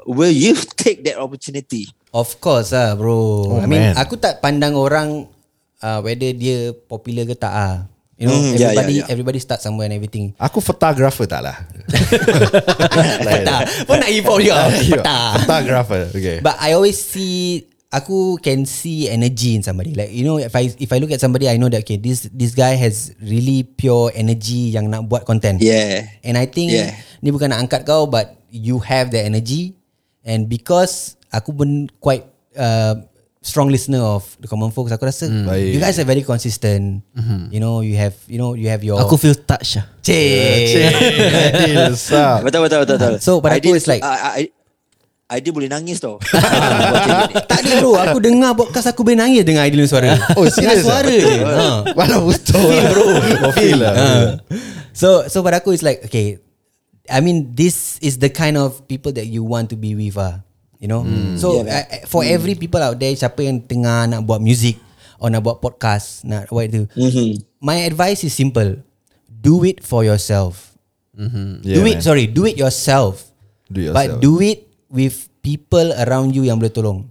C: Will you take that opportunity
F: of course ah, bro.
D: Oh,
F: I mean,
D: man.
F: aku tak pandang orang uh, whether dia popular ke tak ah. You know,
C: Mm, yeah, yeah,
F: everybody
C: yeah.
F: everybody start somewhere and everything. *laughs*
D: Aku photographer tak lah.
F: *laughs* Peta. Pun nak hip hop juga. *laughs* Peta.
D: Photographer. Okay. *laughs*
F: But I always see aku can see energy in somebody. Like you know if I if I look at somebody I know that okay this this guy has really pure energy yang nak buat content.
C: Yeah.
F: And I think
C: Yeah.
F: ni bukan nak angkat kau but you have the energy and because aku pun quite uh, strong listener of the common folks aku rasa
D: Baik.
F: you guys are very consistent. You know you have you know you have your
B: Aku feel touch lah.
F: Cik.
D: Adil, sah.
C: Betul betul betul betul.
F: So, pada aku,
C: Ideal-
F: it's like-
C: I, I, I dia boleh nangis *laughs* tau.
F: *laughs*
C: Ah,
F: tak ada bro Aku dengar podcast Aku boleh nangis Dengan Aidil punya suara
D: Oh, serious
F: Dengan
D: ah?
F: suara je ha.
D: *laughs* Walau betul Feel *laughs* bro Feel lah
F: So so pada aku it's like okay I mean this is the kind of people that you want to be with ah. You know?
D: Hmm.
F: So
C: Yeah,
F: uh, for every people out there siapa yang tengah nak buat music or nak buat podcast, nak what itu.
D: Mm-hmm.
F: My advice is simple. Do it for yourself. do it sorry, do it yourself.
D: Do it
F: But
D: yourself.
F: do it with people around you yang boleh tolong.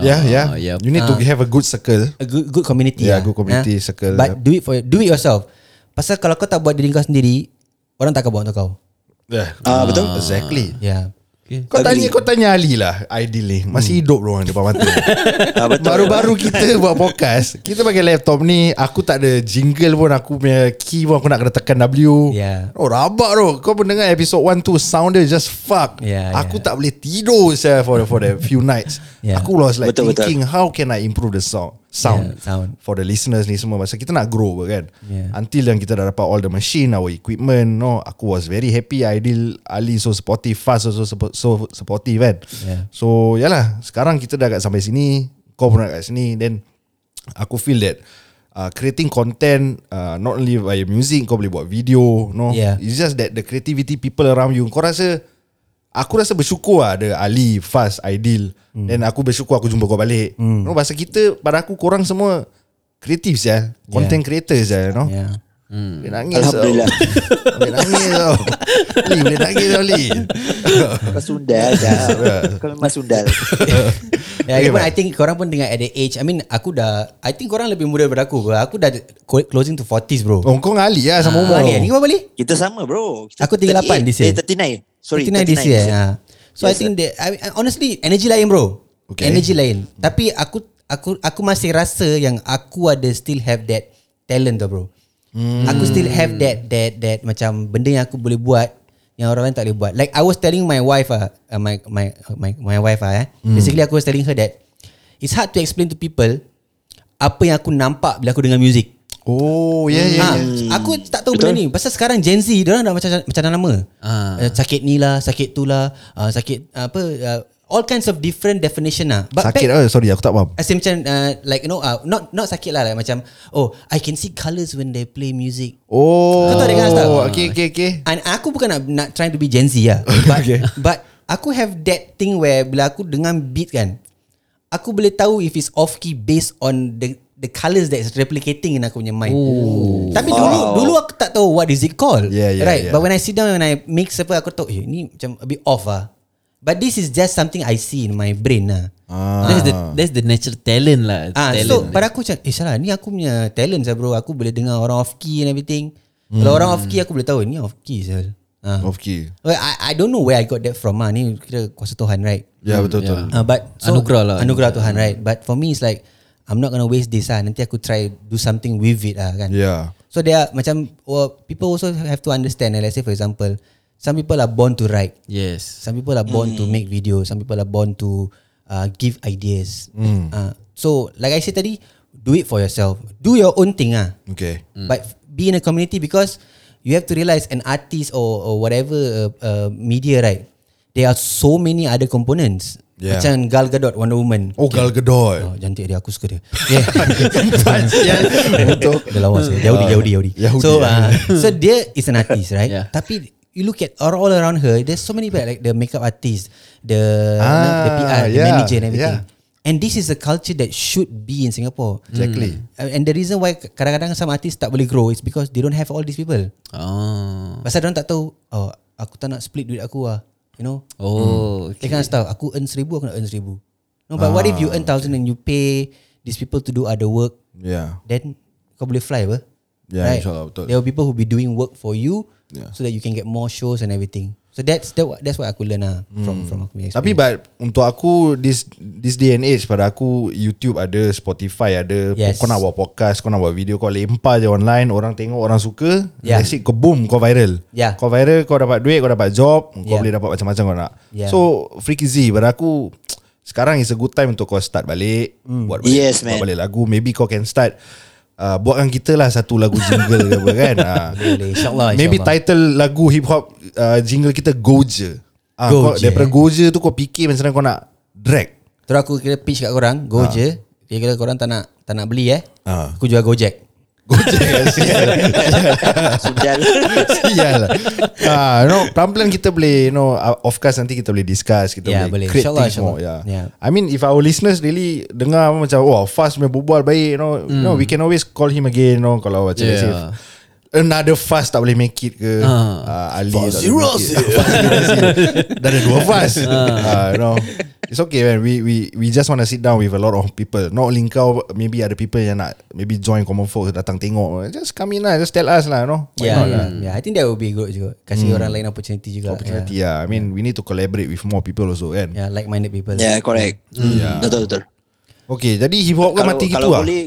D: Yeah yeah
B: Ah, yep.
D: You need to have a good circle
F: a good good community.
D: Yeah,
F: lah.
D: good community, circle.
F: But do it for do it yourself. Pasal kalau kau tak buat diri kau sendiri, orang tak akan buat untuk kau.
D: Yeah
C: Ah, betul.
D: Exactly
F: Yeah.
D: Kau tanya
C: Agree.
D: kau tanya Ali lah Ideal ni Masih hidup orang depan mata
C: Ah, betul.
D: Baru-baru kita buat podcast Kita pakai laptop ni Aku tak ada jingle pun Aku punya key pun Aku nak kena tekan W
F: Yeah.
D: Oh rabak tu Kau pun dengar episode 1 tu Sound dia just fuck
F: Yeah,
D: Aku
F: yeah.
D: tak boleh tidur saya For the, for the few nights
F: Yeah.
D: Aku was like
C: Betul, betul.
D: thinking How can I improve the sound Sound,
F: Yeah, sound.
D: For the listeners ni semua Masa kita nak grow pun kan
F: Yeah.
D: Until yang kita dah dapat All the machine Our equipment no, Aku was very happy Ideal Ali so supportive Fast also suppo- so supportive kan
F: Yeah.
D: So yalah Sekarang kita dah kat sampai sini Kau pun dah kat sini Then Aku feel that uh, Creating content uh, Not only by music Kau boleh buat video no?
F: Yeah.
D: It's just that The creativity people around you Kau rasa Aku rasa bersyukur lah Ada Ali Faz Aidil hmm. Dan aku bersyukur Aku jumpa kau balik hmm. you know, Bahasa kita Pada aku korang semua Kreatif ya Content yeah. creators ya you know? yeah.
G: Yeah.
D: Boleh nangis tau.
C: Alhamdulillah
D: Boleh nangis *laughs* tau Ali boleh nangis tau Ali
C: Kau sundal
F: *laughs*
C: dah Kau memang sundal
F: Yeah, okay, Ya, even I think korang pun dengan at the age I mean aku dah I think korang lebih muda daripada aku bro. Aku dah co- closing to 40s bro
D: Oh kau dengan Ali lah Sama umur
F: Ali, Ali kau balik?
C: Kita sama bro Kita
F: Aku 38 this year.
C: Eh 39 Sorry
F: 39 this year ha. So yes, I
C: Yes,
F: think that I, I- honestly energy lain bro
D: Okay.
F: okay. Energy lain Tapi aku aku aku masih rasa yang aku ada still have that talent tu bro hmm. Aku still have that that that macam benda yang aku boleh buat yang orang lain tak boleh buat Like I was telling my wife ah, uh, my, my my my wife ah, eh. Basically aku was telling her that It's hard to explain to people Apa yang aku nampak bila aku dengar music
D: Oh yeah yeah,
F: Ah,
D: yeah.
F: Aku tak tahu Betul? benda ni Pasal sekarang Gen Z Diorang dah macam Macam dah nama
B: Ah.
F: uh, Sakit ni lah Sakit tu lah uh, Sakit apa uh, All kinds of different definition lah But
D: Sakit lah
F: back,
D: Sorry aku tak faham
F: As in macam uh, Like you know uh, Not not sakit lah like, Macam Oh I can see colours When they play music
D: Oh
F: Kau tak dengar Azhar?
D: Okay okay okay
F: And aku bukan nak, nak trying to be Gen Z lah But, okay. but Aku have that thing where Bila aku dengar beat kan Aku boleh tahu if it's off key based on the the colours that's replicating in aku punya mind. Ooh. Tapi dulu
C: Wow.
F: dulu aku tak tahu what is it called.
D: Yeah, yeah,
F: right.
D: yeah.
F: But when I sit down and I mix apa aku tahu eh ni macam a bit off ah. But this is just something I see in my brain lah.
D: Ah.
B: That's the that's the natural talent lah.
F: Ah,
B: talent.
F: so pada aku macam Eh salah ni aku punya talent saya bro Aku boleh dengar orang off key and everything hmm. Kalau orang off key aku boleh tahu Ni off key saya ah.
D: Okay
F: Well, I, I don't know where I got that from ah. Ni kira kuasa Tuhan right
D: Ya yeah, betul betul
F: uh, But
B: Anugerah lah.
F: Anugerah Tuhan right But for me it's like I'm not gonna waste this ah. Nanti aku try do something with it ah kan
D: Yeah
F: So there are macam well, People also have to understand eh. Let's say for example Some people are born to write
B: yes.
F: Some people are born to make videos. Some people are born to uh, give ideas. Uh, so, like I said tadi, do it for yourself. Do your own thing ah.
D: Okay
F: But be in a community because you have to realize an artist or, or whatever uh, uh, media right. There are so many other components.
D: Yeah.
F: Macam Gal Gadot, Wonder Woman.
D: Oh Gal Gadot
F: Oh, cantik dia aku suka dia.
D: *laughs*
F: Yeah.
D: Betul
F: dia lawas dia. Yahudi, Yahudi, Yahudi.
D: Ah, Yahudi. ya.
F: So,
D: *laughs*
F: uh, so dia is an artist, right?
B: Yeah.
F: yeah. Tapi you look at all, all around her, there's so many people like the makeup artist, the
D: Ah,
F: the PR, the
D: yeah,
F: manager and everything.
D: yeah.
F: And this is a culture that should be in Singapore.
D: Exactly.
F: Uh, And the reason why kadang-kadang some artists tak boleh grow is because they don't have all these people.
B: Oh.
F: Pasal orang tak tahu, oh, aku tak nak split duit aku lah. You know, Mm.
B: Oh.
F: Okay. They can't stop. Aku earn seribu, aku nak earn seribu. No, but ah, what if you earn thousand and you pay these people to do other work,
D: Yeah
F: then kau boleh fly apa?
D: Yeah, Ya, insyaAllah, betul. Ya.
F: There will people who be doing work for you
D: Yeah.
F: yeah. so that you can get more shows and everything. So that's that, what- that's what aku learn lah from from aku punya
D: Hmm. Tapi
F: experience.
D: but untuk aku this this day and age pada aku YouTube ada, Spotify ada.
F: Yes.
D: Kau nak buat podcast, kau nak buat video, kau lempar je online, orang tengok, orang suka.
F: Yeah.
D: That's it, kau boom, kau viral.
F: Yeah.
D: Kau viral, kau dapat duit, kau dapat job, kau
F: Yeah.
D: boleh dapat macam-macam kau nak.
F: Yeah.
D: So Freaky Z pada aku sekarang is a good time untuk kau start balik, mm.
F: Hmm.
D: buat balik,
C: Yes,
D: buat
C: man.
D: balik lagu. Maybe kau can start Uh, buatkan kita lah satu lagu *laughs* jingle ke apa kan Ah.
F: boleh. InsyaAllah,
D: Maybe
F: insyaAllah.
D: title lagu hip hop uh, jingle kita Goja. Ah, kau,
F: Go Je.
D: daripada Goja tu kau fikir macam mana kau nak drag.
F: Terus aku kira pitch kat korang, go je. Dia kira korang tak nak tak nak beli eh.
D: Ah.
F: Aku jual Gojek.
C: Sundal
F: *laughs*
C: *laughs*
D: Sial lah. ah, you know, pelan-pelan kita boleh, you know, uh, of course nanti kita boleh discuss, kita
F: Yeah,
D: boleh,
F: Ya, boleh.
D: create
F: InsyaAllah,
D: things more. Yeah.
F: insyaAllah. Ya.
D: yeah. I mean, if our listeners really dengar macam, wah, fast punya berbual baik, you know,
F: Hmm.
D: mm. you know, we can always call him again, you know, kalau macam
B: Yeah.
D: yeah.
F: Ya.
D: safe. Another fast tak boleh make it
F: Ha.
D: ke
B: Ah.
D: ah. Ali tak
A: Fauzi
D: boleh make it. Fauzi
F: *laughs*
D: Razi. Dah ada dua fast
F: Ha.
D: ah, you know. It's okay man We we we just want to sit down With a lot of people Not only kau Maybe ada people yang nak Maybe join common folk Datang tengok Just come in lah Just tell us lah you know. Why
F: Yeah,
D: not, Hmm.
F: yeah. yeah. Ya, I think that will be good juga. Kasih orang lain opportunity juga.
D: opportunity yeah. lah. I mean, we need to collaborate with more people also kan. Yeah.
F: Yeah, yeah like-minded people.
C: Yeah correct
F: Hmm.
C: Betul betul
D: Okay, jadi hip hop kan
C: Kalau-
D: mati gitu
C: Kalau
F: ah?
D: lah.
C: boleh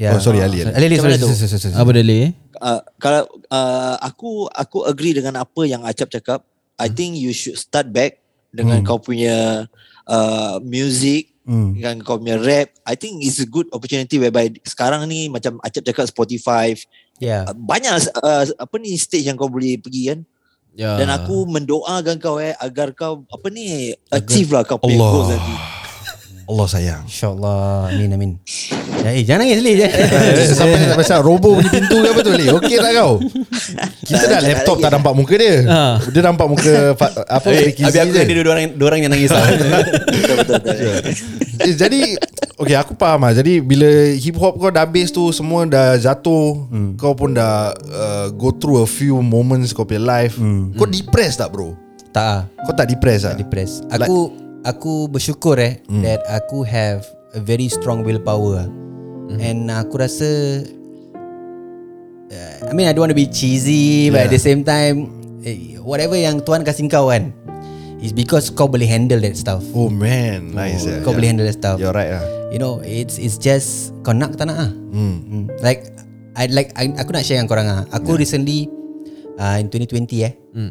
F: Yeah.
D: Oh, sorry, Ali, Ali.
F: Ya. Ali, Ali
C: Macam
F: sorry,
C: mana
F: sorry,
C: tu?
F: sorry, sorry, sorry.
B: Apa dia leh?
C: Uh, kalau uh, aku aku agree dengan apa yang Acap cakap. I think you should start back dengan kau punya uh, music dengan kau punya rap. I think it's a good opportunity whereby sekarang ni macam Acap cakap Spotify
F: Yeah.
C: uh, banyak uh, apa ni stage yang kau boleh pergi kan.
B: Ya.
C: Dan aku mendoakan kau eh agar kau apa ni achieve lah kau punya
D: Allah.
C: goals nanti.
D: Allah sayang.
F: InsyaAllah Amin amin Eh jangan
D: *laughs*
F: nangis Lee
D: Sampai nak pasal robo punya pintu ke apa tu Lee Okey tak kau Kita dah laptop tak nampak muka dia
B: Ha.
D: Dia nampak muka fa- Apa
G: Eh,
D: Ricky Z
G: Habis aku
D: je.
G: dia dua orang dua orang yang
D: *laughs*
G: nangis lah.
C: Betul betul. betul.
D: Eh, Jadi Okay aku faham lah Jadi bila hip hop kau dah habis tu Semua dah jatuh hmm. Kau pun dah uh, Go through a few moments Kau punya life hmm. Kau depressed tak bro?
F: Tak ah,
D: Kau tak depressed tak?
F: depressed Aku Aku bersyukur eh
D: Hmm.
F: That aku have A very strong willpower ah.
D: Hmm.
F: And aku rasa uh, I mean I don't want to be cheesy yeah. But at the same time eh, Whatever yang Tuhan kasih kau kan Is because kau boleh handle that stuff
D: Oh man Nice
F: oh,
D: yeah,
F: Kau
D: yeah.
F: boleh handle that stuff
D: You're right lah
F: You know It's it's just Kau nak ke tak nak ah. Hmm. Like I like I, Aku nak share dengan korang ah. Aku yeah. recently uh, In 2020 eh hmm.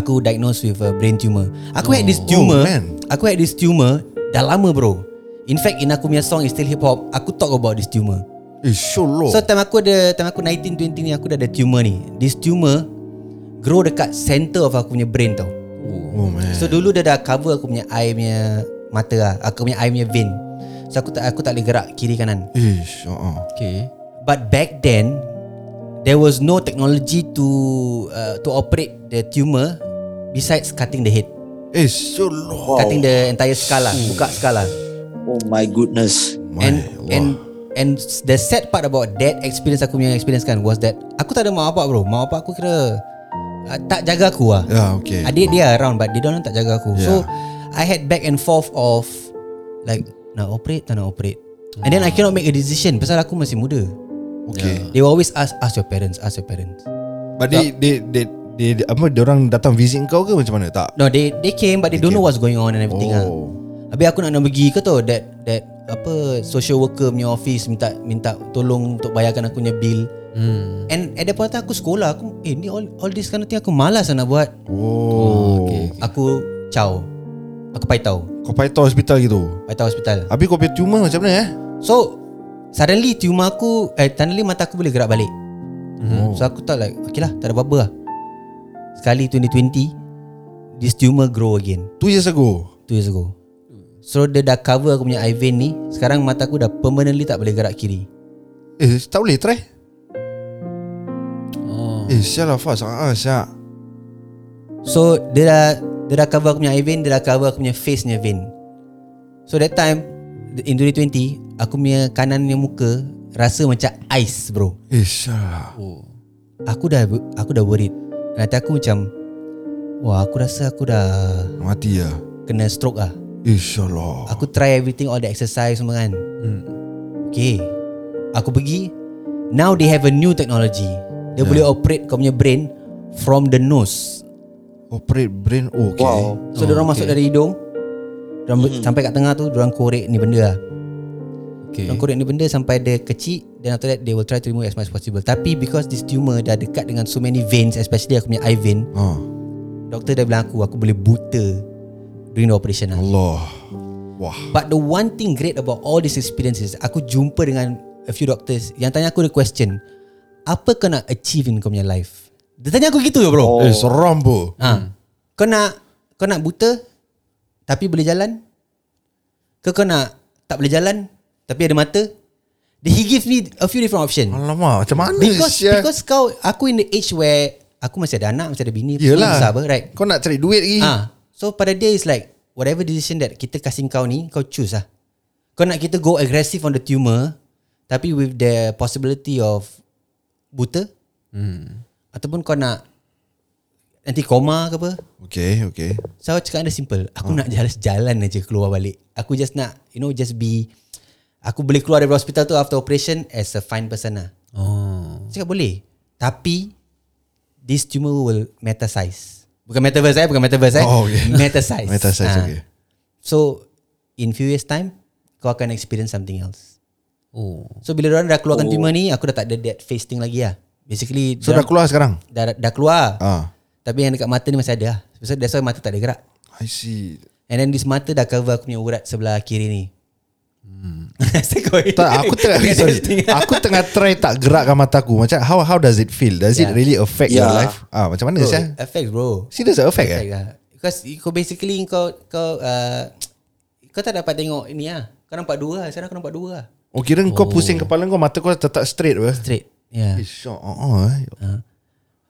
F: Aku diagnosed with a brain tumor Aku oh. had this tumor
D: Oh, man.
F: Aku had this tumor Dah lama bro In fact in aku punya song Is still hip hop Aku talk about this tumor
D: Eh sure lo
F: So time aku ada Time aku 19, 20 ni Aku dah ada tumor ni This tumor Grow dekat center of aku punya brain tau
D: Oh man
F: So dulu dia dah cover aku punya eye punya mata lah. Aku punya eye punya vein. So aku tak aku tak boleh gerak kiri kanan.
D: Ish uh-uh.
B: Okay
F: But back then there was no technology to uh, to operate the tumor besides cutting the head.
D: Eh sure lo
F: Wow. Cutting the entire skull lah, buka skull lah.
C: Oh my goodness.
F: and and and the sad part about that experience aku punya experience kan was that aku tak ada mak bapak bro. Mak bapak aku kira uh, tak jaga aku lah.
D: Ya okay
F: Adik dia around but dia orang tak jaga aku. Yeah. So
D: Yeah.
F: I had back and forth of like nak operate tak nak operate. And then I cannot make a decision pasal aku masih muda.
D: Okay
F: They will always ask ask your parents, ask your parents.
D: But they, they, they, they, they Apa orang datang visit kau ke macam mana tak?
F: No, they they came but they, they don't know what's going on and everything ah.
D: Oh.
F: Habis aku nak nak pergi ke tu that that apa social worker punya office minta minta tolong untuk bayarkan aku punya bill. Hmm. And at that point of time, aku sekolah aku eh ni all all this kind of thing aku malas lah nak buat.
D: Oh, okay.
F: Aku caw. Aku paitau.
D: Kau paitau hospital gitu
F: Paitau hospital.
D: Habis kau punya tumor macam mana eh?
F: So Suddenly tumor aku Eh suddenly mata aku boleh gerak balik
D: Oh.
F: mm-hmm.
D: Mhm.
F: So aku tak like Okay lah tak ada apa-apa lah Sekali 2020 This tumor grow again
D: Two years ago
F: 2 years ago So dia dah cover aku punya eye vein ni Sekarang mata aku dah permanently tak boleh gerak kiri
D: Eh tak boleh try oh. Eh sial lah Fas ah, ah, sial
F: So dia dah Dia dah cover aku punya eye vein Dia dah cover aku punya face punya vein So that time In 2020 Aku punya kanan punya muka Rasa macam ice bro
D: Eh sial lah
B: Oh.
F: aku dah aku dah worried. Nanti aku macam wah aku rasa aku dah
D: Mati lah
F: kena stroke ah.
D: Eh sial lah
F: Aku try everything all the exercise semua kan. Okay. Aku pergi now they have a new technology. Dia boleh operate kau punya brain from the nose.
D: Operate brain oh, okay.
C: Wow.
F: So oh, orang masuk dari hidung. Diorang hmm. sampai kat tengah tu orang korek ni benda lah.
B: Okay
F: Orang korek ni benda sampai dia kecil Then after that They will try to remove as much as possible Tapi because this tumor Dah dekat dengan so many veins Especially aku punya eye vein
D: ha.
F: Doktor dah bilang aku Aku boleh buta During the operation lah
D: Allah Wah
F: But the one thing great About all these experiences Aku jumpa dengan A few doctors Yang tanya aku the question Apa kau nak achieve In kau punya life Dia tanya aku gitu je bro oh.
D: Eh seram bro
F: ha. Kau nak Kau nak buta Tapi boleh jalan Ke kau nak Tak boleh jalan Tapi ada mata Then He give me A few different options
D: Alamak macam mana
F: Because
D: sial?
F: Because kau Aku in the age where Aku masih ada anak Masih ada bini
D: Yelah
F: Besar lah, apa right
D: Kau nak cari duit lagi
F: Ah, so pada dia is like whatever decision that kita kasih kau ni, kau choose lah. Kau nak kita go aggressive on the tumor, tapi with the possibility of buta, hmm. ataupun kau nak nanti koma ke apa?
D: Okay okay
F: So aku cakap dia simple. Aku nak jalan jalan aja keluar balik. Aku just nak you know just be aku boleh keluar dari hospital tu after operation as a fine person lah.
B: Oh
F: Saya Cakap boleh Tapi This tumor will metasize Bukan metaverse eh Bukan metaverse eh
D: Oh, okay. *laughs*
F: Metasize
D: Metasize,
F: Ah.
D: okay.
F: So In few years time Kau akan experience something else
B: Oh
F: So bila orang dah keluarkan oh. tumor ni Aku dah tak ada that face thing lagi lah Basically
D: So dah
F: dorang-
D: keluar sekarang
F: dah, dah keluar
D: Ah,
F: Tapi yang dekat mata ni masih ada lah So that's why mata tak ada gerak
D: I see
F: And then this mata dah cover aku punya urat sebelah kiri ni *laughs* hmm.
D: tak, aku
F: *laughs*
D: tengah sorry. Aku tengah try tak gerakkan mata aku. Macam how how does it feel? Does yeah. it
F: Yeah.
D: really affect yeah. your
C: Yeah.
D: life? Ah, macam mana
F: Bro,
D: sih?
F: Affects bro
D: Serious tak affect eh?
F: Effect lah Because kau basically ah. kau kau uh, kau tak dapat tengok ni lah. Kau nampak dua lah. Sekarang kau nampak dua lah.
D: Oh kira oh. kau pusing kepala kau Mata kau tetap straight apa
F: Straight Ha. Yeah
D: Eh syok oh, oh, eh.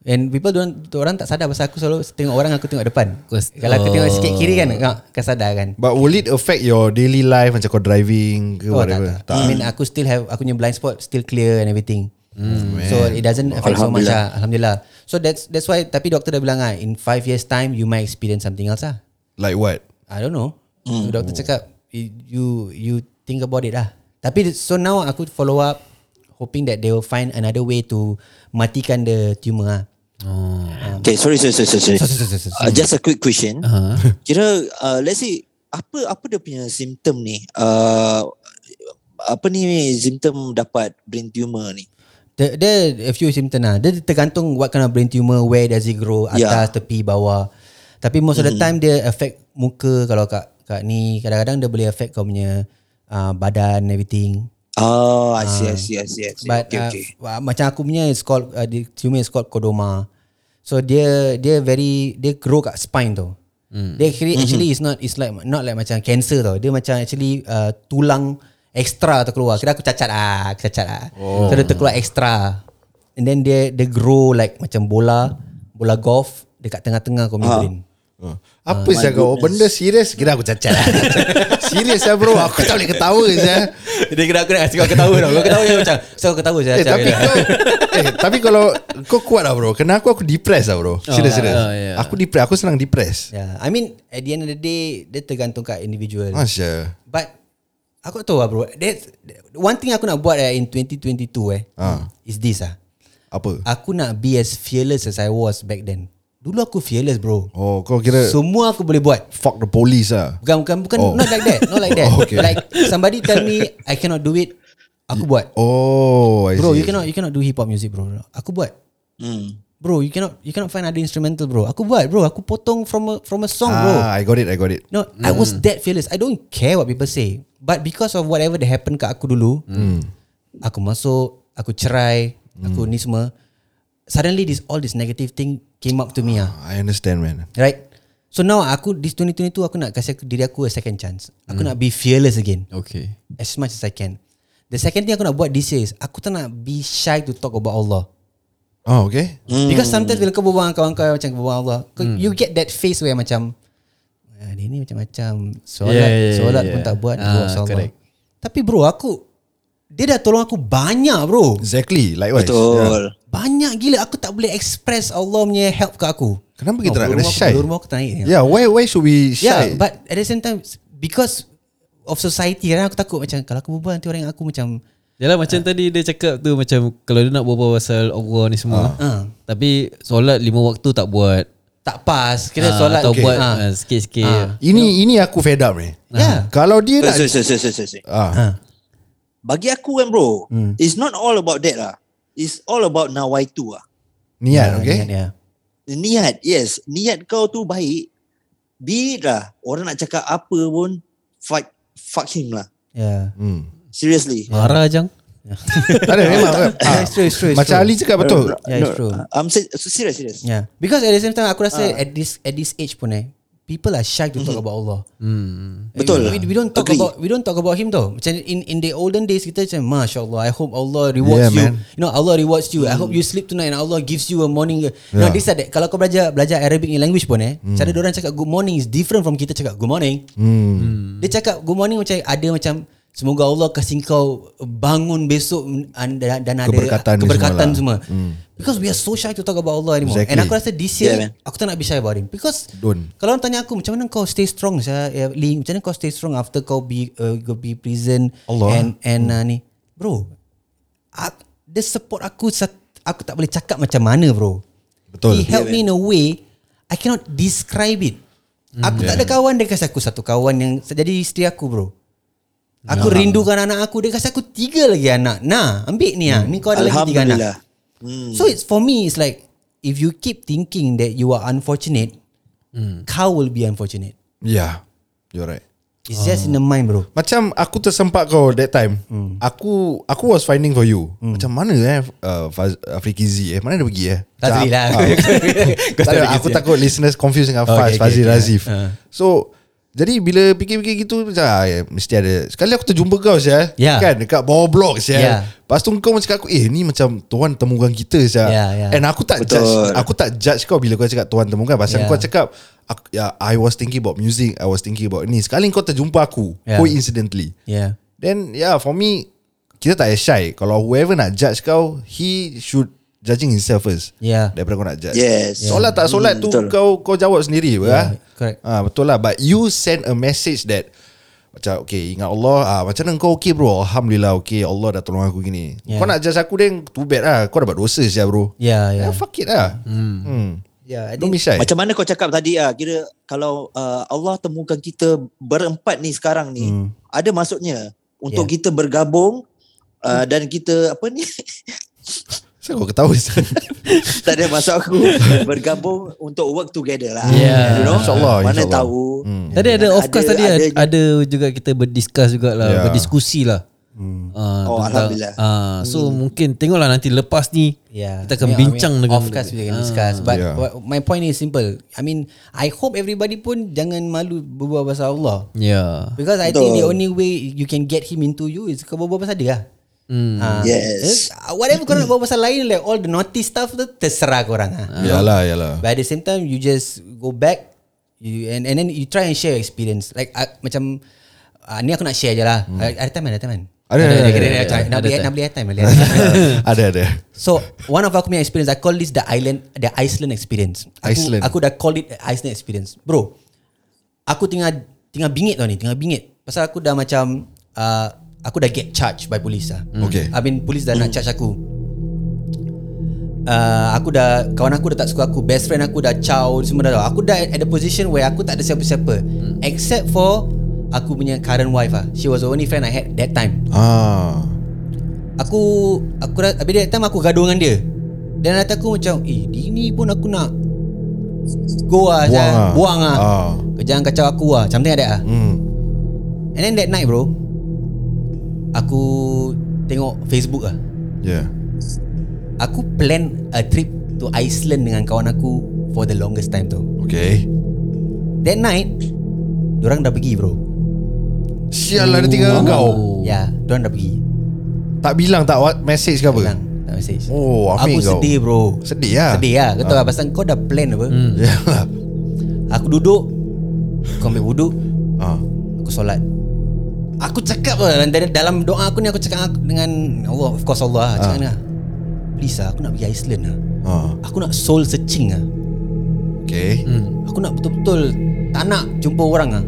F: And people don't orang tak sadar pasal aku selalu tengok orang aku tengok depan.
B: Kau-
F: Kalau
B: oh.
F: aku tengok sikit kiri kan kau kau sadar kan.
D: But will it affect your daily life Macam kau driving ke
F: Oh, tak,
D: whatever
F: tak. I mean aku still have aku punya blind spot still clear and everything. Mm, so it doesn't affect so much lah. Alhamdulillah. So that's that's why tapi doktor dah bilang ah in five years time you might experience something else ah.
D: Like what
F: I don't know. Mm. Doktor cakap you you you think about it lah. Tapi so now aku follow up hoping that they will find another way to matikan the tumour ah.
C: Okay, sorry, sorry, sorry, sorry.
F: Sorry, sorry, sorry, sorry.
C: Uh, just a quick question. Uh-huh. *laughs* Kira, uh, let's say apa apa dia punya simptom ni? Uh, apa ni simptom dapat brain tumor ni?
F: Dia, dia a few symptom lah. Dia tergantung what kind of brain tumor, where does it grow, atas,
C: Yeah.
F: yeah. tepi, bawah. Tapi most mm-hmm. of the time dia affect muka kalau kat kat ni. Kadang-kadang dia boleh affect kau punya uh, badan everything.
C: Oh, I see, I see, I see, I see.
F: Ah. But
C: okay,
F: okay,
C: okay.
F: Uh, macam aku punya is called uh, the tumor is called chordoma. So dia dia very dia grow kat spine tu. Mm. Dia actually, actually is not is like not like macam cancer tau. Dia macam actually uh, tulang extra terkeluar. Kira aku cacat ah, aku cacat ah. Oh. So dia terkeluar extra. And then dia dia grow like macam bola, bola golf dekat tengah-tengah kau punya
C: Ah.
F: brain.
D: Oh. Apa uh, kau Benda serius Kira aku cacat Serius lah bro Aku tak boleh ketawa eh, je
F: *laughs* dia kira aku nak asyik kau ketawa tau. Kau ketawa dia macam, *laughs* so kau ketawa lah, saya.
D: Eh tapi kau eh, Tapi kalau Kau kuat lah bro Kena aku aku depressed lah
F: Oh,
D: bro Serius
B: ya,
D: serius
B: ya, ya.
D: Aku depressed Aku senang depressed
F: Yeah, I mean at the end of the day dia tergantung kat individual.
D: Masya
F: But aku tak tahu lah bro. That's one thing aku nak buat eh, in 2022 eh.
D: Ah.
F: Is this ah.
D: Apa
F: Aku nak be as fearless as I was back then. Dulu aku fearless bro.
D: Oh kau kira so,
F: Semua aku boleh buat.
D: Fuck the police lah
F: Bukan bukan bukan
D: Oh.
F: oh. not like that. Not like that.
D: *laughs* Oh, okay.
F: Like somebody tell me I cannot do it, aku buat.
D: Oh I
F: Bro,
D: see.
F: you cannot you cannot do hip hop music bro. Aku buat.
C: Hmm.
F: Bro, you cannot you cannot find other instrumental bro. Aku buat bro. Aku potong from a from a song bro.
D: Ah, I got it I got it
F: No, mm. I was that fearless. I don't care what people say. But because of whatever that happened kat aku dulu, mm. aku masuk, aku cerai, mm. aku ni semua. Suddenly this all this negative thing came up to me ah.
D: I understand man
F: Right? So now aku this 2022 aku nak kasi aku- diri aku a second chance. Aku mm. nak be fearless again
B: Okay.
F: as much as I can. The second thing aku nak buat this year is aku tak nak be shy to talk about Allah.
D: Oh okay
B: Hmm.
F: Mm. Because sometimes bila kau berbual dengan kawan kau macam kau berbual Allah, kau, mm. you get that face where macam ah, dia ni macam-macam solat yeah,
B: Yeah,
F: yeah,
B: yeah,
F: solat
B: yeah.
F: pun tak buat
B: Ah,
F: ah, Allah.
B: correct.
F: Tapi bro aku dia dah tolong aku banyak bro.
D: Exactly likewise Yeah.
C: Betul.
F: Banyak gila aku tak boleh express Allah punya help ke aku.
D: Kenapa kita nak
F: bulu
D: kena
F: rumah aku-
D: shy?
F: bulu rumah aku tak naik.
D: Yeah why why should we
F: Yeah,
D: shy
F: but at the same time because of society kan aku takut macam kalau aku berbual nanti orang ingat aku macam
B: Yalah macam tadi dia cakap tu macam kalau dia nak berbual pasal Allah ni semua.
F: Ah.
B: Tapi solat lima waktu tak buat.
F: tak pas kira
B: Ah,
F: solat
B: atau
F: okay.
B: buat ah,
F: Ah.
B: sikit-sikit.
F: Ah.
D: Ini ini aku fed up ni
F: Yeah.
D: Kalau dia nak
C: Eh, Sorry, sorry, sorry, sorry, sorry, sorry.
D: ah,
C: Bagi aku kan bro,
F: Hmm.
C: it's not all about that lah. It's all about nawaitu lah.
D: Niat
F: Ah,
D: Ya, okay
F: ingat dia.
C: Niat, yes. Niat kau tu baik. Be it lah. Orang nak cakap apa pun, fuck, fuck him lah.
F: Yeah.
D: hmm.
C: Seriously.
F: Ah.
B: Marah jang.
D: Tak ada memang ah,
F: it's true, it's true, it's
D: Macam
F: true.
D: Ali cakap betul
F: Oh, Yeah, it's true.
C: I'm se- serious, serious.
F: Yeah. Because at the same time aku
D: Ah.
F: rasa at this at this age pun eh people are shy to
D: Mm-hmm.
F: talk about Allah.
B: Hmm.
C: Betul.
F: We, we don't talk
C: Agree.
F: about we don't talk about him though. Macam in in the olden days kita macam masya-Allah I hope Allah
D: Yeah,
F: rewards you.
D: man. Mm.
F: You know Allah rewards you. I hope you sleep tonight and Allah gives you a morning. No,
D: Yeah. Mm.
F: this are that. Kalau kau belajar belajar Arabic ni language pun eh, cara dia orang cakap good morning is different from kita cakap good morning. Mm.
D: Hmm.
F: Dia cakap good morning macam ada macam semoga Allah kasih kau bangun besok an- dan, dan ada
D: Keberkatan ni
F: keberkatan
D: semua
F: semua.
D: lah.
F: Hmm. Because we are so shy to talk about Allah anymore.
D: Exactly.
F: Exactly. And aku rasa this year
C: Yeah,
F: yeah,
C: man.
F: aku tak nak be shy about him because
D: Don't.
F: kalau orang tanya aku macam mana kau stay strong saya ya, Lee macam mana kau stay strong after kau be uh, kau be prison
D: Allah. Hmm.
F: and and uh, ni bro uh, the support aku sat- aku tak boleh cakap macam mana bro.
D: Betul.
F: He helped me in a way I cannot describe it.
D: Hmm.
F: Aku tak ada kawan dia kasi aku satu kawan yang jadi isteri aku bro. Aku rindukan anak aku dia kasi aku tiga lagi anak. Nah, ambil ni ah. Ni kau ada lagi tiga anak.
C: Alhamdulillah.
F: So it's for me it's like if you keep thinking that you are unfortunate,
B: Hmm.
F: kau will be unfortunate.
D: Yeah Ya, You're right
F: It's just in the mind
B: *laughs*
F: bro.
D: Macam aku tersempat kau that time. Hmm. Aku aku was finding for you. Hmm. Macam mana eh uh, Faz, Afriki Z eh? Mana dia pergi eh?
F: Tak
D: Macam
F: sedih lah.
D: *laughs* aku- tak ada, aku takut listeners confused dengan Faz,
F: okay, Uh.
D: Fazil
F: okay.
D: Razif. So Jadi bila fikir-fikir gitu macam ah, ya, mesti ada. Sekali aku terjumpa kau Syah.
F: Ya.
D: Kan dekat bawah blok Syah.
F: Ya.
D: Lepas tu kau macam aku eh ni macam tuan temukan kita Syah.
F: Ya, ya.
D: And aku tak Betul.
C: Betul.
D: judge aku tak judge kau bila kau cakap tuan temukan pasal
F: Ya.
D: kau cakap aku, ya, I was thinking about music, I was thinking about ni. Sekali kau terjumpa aku
F: Ya.
D: coincidentally.
F: Yeah.
D: Then yeah for me Kita tak payah shy Kalau whoever nak judge kau He should Judging himself first
F: Yeah.
D: Daripada kau nak judge
C: Yes.
D: Solat tak solat
C: Hmm,
D: tu
C: betul.
D: Kau kau jawab sendiri yeah,
F: Ya, correct.
D: ha, Betul lah But you send a message that macam okay ingat Allah ah, Macam mana kau okay bro Alhamdulillah okay Allah dah tolong aku gini
F: Yeah.
D: Kau nak judge aku then Too bad lah Kau dapat dosa siap bro
F: Yeah,
D: yeah.
F: yeah.
D: Fuck it lah hmm. Hmm.
F: Yeah, ya. I
D: Don't be
F: think
D: shy
C: Macam mana kau cakap tadi ah kira kalau uh, Allah temukan kita berempat ni sekarang ni hmm. ada maksudnya untuk
D: Ya.
C: yeah. kita bergabung uh,
D: Hmm.
C: dan kita apa ni *laughs*
D: Kenapa kau
F: *laughs*
D: ketawa
C: tak ada maksud
D: *laughs*
C: aku bergabung untuk work together lah
B: Yeah.
C: you know
D: Ya. InsyaAllah,
C: mana
D: insyaAllah.
C: tahu
D: Hmm.
B: Tadi ada
C: Dan
B: of course tadi ada,
C: Ya. ada-
B: ada juga kita berdiscuss jugalah,
D: Ya.
B: yeah. berdiskusi lah. Hmm. Uh,
C: Oh, Alhamdulillah.
B: Uh, so hmm. mungkin tengoklah nanti lepas ni
F: Yeah.
B: kita akan
F: Yeah,
B: bincang
F: I mean,
B: dengan Ah.
F: Of course we can discuss But
D: Yeah.
F: what, my point is simple I mean I hope everybody pun Jangan malu berbual pasal Allah
B: Yeah.
F: Because I
C: Betul.
F: think the only way You can get him into you Is kau berbual pasal dia lah
B: Hmm.
F: Ah.
C: Yes.
F: Eh, Whatever kau nak buat pasal lain Like all the naughty stuff tu Terserah korang lah
D: Yalah yalah
F: But at the same time You just go back you, and, and then you try and share your experience Like uh, macam uh, Ni aku nak share je lah hmm. Ada time kan? Ada time kan?
D: Ada, ada, ada,
F: kira-
B: ada,
F: kira-
B: ada,
F: Nak beli
B: ada
F: nak beli airtime beli
D: *laughs*
F: airtime.
D: *laughs* Ada
F: *laughs*
D: ada
F: So one of aku punya experience I call this the island the Iceland experience. Aku,
D: Iceland.
F: Aku dah call it Iceland experience. Bro. Aku tengah tengah bingit tau ni, tengah bingit. Pasal aku dah macam uh, aku dah get charged by police lah.
D: Hmm. Okay.
F: I mean police dah nak charge aku. Uh, aku dah Kawan aku dah tak suka aku Best friend aku dah Chow Semua dah tahu Aku dah at the position Where aku tak ada siapa-siapa
D: Hmm.
F: Except for Aku punya current wife lah She was the only friend I had That time
D: Ah.
F: Aku aku ra- Habis that time aku gaduh dengan dia Dan hati aku macam Eh dia ni pun aku nak Go lah
D: Buang ah.
F: Buang lah Buang lah
D: Ah.
F: Jangan kacau aku lah Something like that lah
D: Hmm.
F: And then that night bro Aku Tengok Facebook lah
D: Yeah.
F: Aku plan a trip To Iceland dengan kawan aku For the longest time tu
D: Okay.
F: That night Diorang dah pergi bro
D: Sial lah dia tinggal dengan kau.
F: Ya yeah, Diorang dah pergi
D: Tak bilang tak what message ke apa?
F: Hilang Tak message
D: Oh,
F: Aku
D: ambil kau.
F: sedih bro
D: Sedih lah.
F: Sedih lah Kau tahu lah Pasal kau dah plan apa hmm.
D: Yalah.
F: *laughs* Aku duduk Aku ambil wuduk
D: Ah.
F: Aku solat Aku cakap lah dari- Dalam doa aku ni Aku cakap aku dengan Allah Of course Allah lah
D: Ah.
F: Cakap dengan dia, Please lah Aku nak pergi Iceland lah
D: Ah.
F: Aku nak soul searching lah
D: Okay.
B: Hmm.
F: Aku nak betul-betul Tak nak jumpa orang lah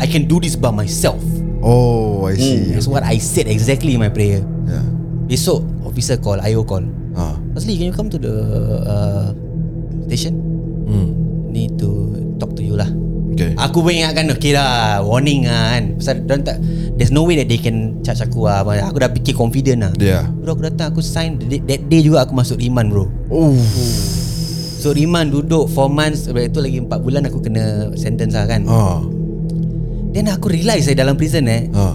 F: I can do this by myself
D: Oh, I see.
F: That's what I said exactly in my prayer
D: Yeah.
F: Besok Officer call IO call
D: Ah.
F: Asli can you come to the uh, Station
D: Hmm.
F: Need to Talk to you lah
D: Okay.
F: Aku pun ingatkan Okay lah Warning lah kan Pasal diorang tak There's no way that they can Charge aku lah Aku dah fikir confident lah
D: Yeah.
F: Bro aku datang Aku sign That that day juga aku masuk Riman bro
D: Oh.
F: So Riman duduk 4 months Lepas tu lagi 4 bulan Aku kena sentence lah kan
D: Ah.
F: Then aku realise Saya dalam prison eh
D: Ah.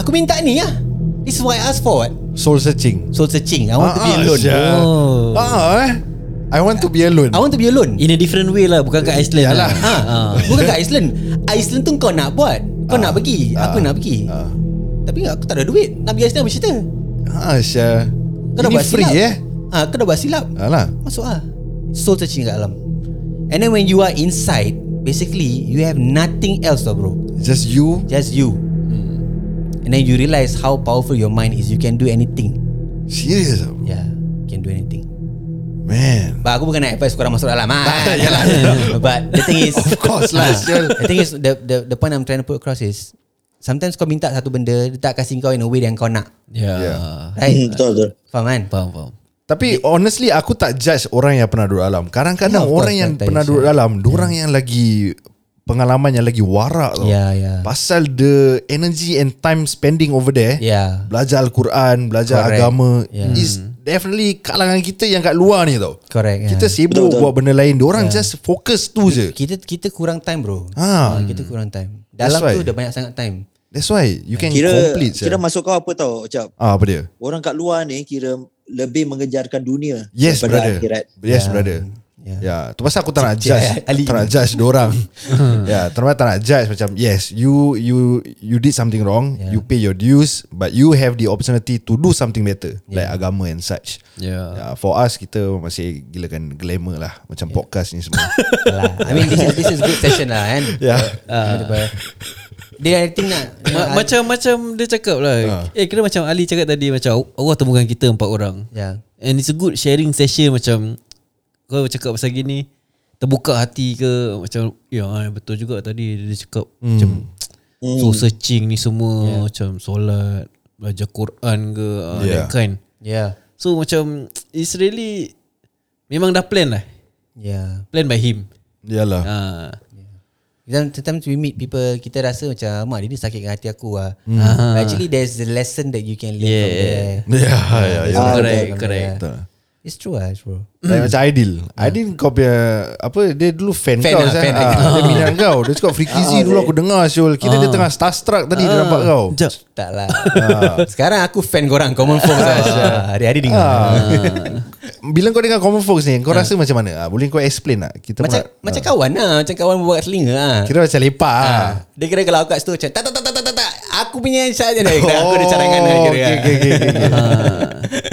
F: Aku minta ni lah This is what I asked for what?
D: Soul searching.
F: Soul searching I want to be
D: Ah,
F: alone
D: sia.
B: Oh.
D: Ah eh. I want to be alone.
F: I want to be alone
B: In a different way lah bukan kat Iceland
D: Yalah.
B: lah.
F: *laughs* ha, Bukan kat Iceland Iceland tu kau nak buat Kau nak pergi Aku nak pergi
D: Ah.
F: Tapi aku tak ada duit Nak pergi Iceland apa cerita
D: Ah, Syah.
F: Kau dah
D: Ini
F: buat
D: free
F: silap
D: eh.
F: ha, Kau dah buat silap
D: Alah.
F: Masuk lah Soul searching kat dalam And then when you are inside Basically You have nothing else tau bro
D: Just you.
F: Just you
D: Hmm.
F: And then you realise How powerful your mind is You can do anything
D: Serious ah, bro.
F: Yeah you Can do anything
D: Man.
F: But aku bukan nak advise korang masuk
D: *laughs*
F: dalam ah. Yalah, yalah. *laughs* But the thing is
D: Of course lah,
F: Ah,
D: Syul.
F: The thing is the, the the point I'm trying to put across is Sometimes kau minta satu benda Dia tak kasih kau in a way yang kau nak
B: Yeah.
D: Yeah.
B: yeah.
D: Hmm,
F: Right
C: betul betul
F: Faham kan?
B: Faham faham.
D: Tapi honestly aku tak judge orang yang pernah duduk dalam. Kadang-kadang
F: Yeah, Ya, of
D: orang
F: course,
D: yang
F: sometimes,
D: pernah duduk
F: yeah.
D: dalam, orang
F: Ya.
D: yang lagi pengalaman yang lagi warak tau.
F: Yeah, yeah.
D: Pasal the energy and time spending over there.
F: Yeah
D: Belajar Al-Quran, belajar
F: Ya. Correct.
D: agama
F: Yeah.
D: is definitely kalangan kita yang kat luar ni tau.
F: Correct ya. yeah.
D: Kita sibuk
C: Betul, betul.
D: buat benda lain, orang just fokus tu je.
F: kita kita kurang time bro.
D: Ah.
F: Ah, kita kurang time.
D: That's
F: Dalam
D: why.
F: tu dah banyak sangat time.
D: That's why you can
C: kira
D: complete. Kira
C: kira masuk kau apa tau cap
D: ah apa dia?
C: orang kat luar ni kira lebih mengejarkan dunia
D: Yes brother.
C: daripada akhirat
D: Yes brother.
F: Yeah.
D: Ya, tu pasal aku tak nak judge.
F: Ali.
D: Tak nak judge *laughs* orang. ya, terutama tak nak judge macam yes, you you you did something wrong,
F: Yeah.
D: you pay your dues, but you have the opportunity to do something better like agama and such.
B: Yeah.
D: Ya, for us kita masih gilakan glamour lah macam podcast ni *laughs* semua.
F: lah. I mean this is this is good session lah kan.
D: Ya.
F: Uh, dia I think nak
B: Ma-
F: nak-
B: macam macam dia cakap
D: Ah.
B: lah. Eh kira macam Ali cakap tadi macam Allah temukan kita empat orang.
F: Yeah.
B: And it's a good sharing session macam kau cakap pasal gini terbuka hati ke macam ya betul juga tadi dia cakap mm. macam so searching ni semua yeah. macam solat belajar Quran ke yeah.
D: Yeah.
B: that kind.
F: Yeah.
B: So macam it's really memang dah plan lah.
F: Yeah.
B: Plan by him.
D: Yalah.
B: Ha.
F: Then sometimes we meet people kita rasa macam mak dia ni sakit dengan hati aku lah. Mm. Actually there's a lesson that you can learn yeah.
B: Ah.
F: from
B: Yeah.
F: there.
D: Ya, ya, ya.
B: Ah, correct,
F: From
B: correct.
F: there. It's true lah, it's true.
D: Like macam Aidil Aidil kau punya Apa Dia dulu fan,
F: Hmm. Fan
D: kau
F: lah,
D: Zah.
F: fan. Ah,
D: Ah, Dia minat
F: *laughs*
D: kau Dia cakap Freaky dulu aku dengar Syul Kita dia tengah starstruck tadi Dia nampak kau
B: Sekejap.
F: Tak lah. Sekarang aku fan korang, common folk lah. Hari-hari dengar.
D: Ah. *laughs* Bila kau dengar Common Folks ni Kau rasa macam mana Ah, Boleh kau explain tak Kita
F: Macam
D: pernah-
F: macam kawan lah, macam kawan buat kat telinga lah.
D: Kira macam lepak ah.
F: Dia kira kalau aku kat situ macam tak tak tak tak tak tak, tak. Aku punya cara dia. Kira Eh, aku
D: *laughs*
F: ada
D: Oh,
F: carangan lah kira. ah.
D: okay, okay, okay, okay.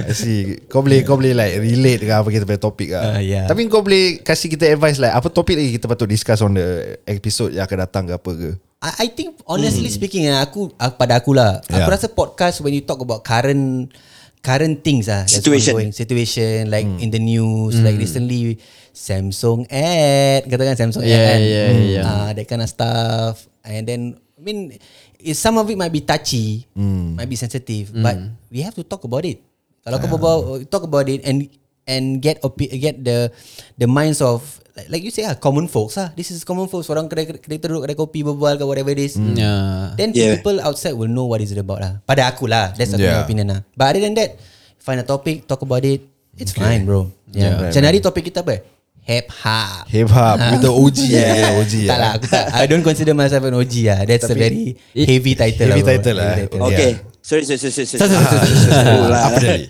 D: I see Kau boleh Kau boleh like Relate dengan apa kita punya topik lah.
F: Ah, yeah.
D: Tapi kau boleh Kasih kita advice like Apa topik lagi Kita patut discuss On the episode Yang akan datang ke apa ke
F: *laughs* I, I think honestly mm. speaking ah, aku, aku pada aku lah.
D: Hmm.
F: Yeah. Aku
D: Yeah.
F: rasa podcast when you talk about current current things ah that's
C: Situation.
F: ongoing, situation like
D: Hmm.
F: in the news like recently Samsung ad katakan Samsung ad
B: Yeah,
F: kan?
B: yeah, yeah.
F: Ah, that kind of stuff and then I mean it, some of it might be touchy might be sensitive but we have to talk about it kalau kau berbual, talk about it and and get opi- get the the minds of like, like you say ah common folks ah this is common folks orang kedai kedai teruk kedai kopi berbual ke whatever it is
B: Hmm. Yeah.
F: Then
C: Yeah.
F: yeah. people outside will know what is it about lah. Pada aku lah, that's aku
D: Yeah.
F: yeah. opinion lah. But other than that, find a topic, talk about it. It's okay. fine, bro. Yeah. yeah
D: right,
F: right, Macam hari topik kita apa? ha. Hip hop.
D: Hip hop With the OG
F: *laughs*
D: yeah. OG
F: Ah. tak lah, aku tak. I don't consider myself an OG lah. That's Tapi, a very heavy title
D: heavy
F: lah. bro.
D: title lah.
F: Heavy title.
D: Yeah.
C: Okay. Sorry, sorry, sorry, sorry. sorry.
F: Sorry, sorry, sorry,
C: Betul lah.
D: Apa tadi?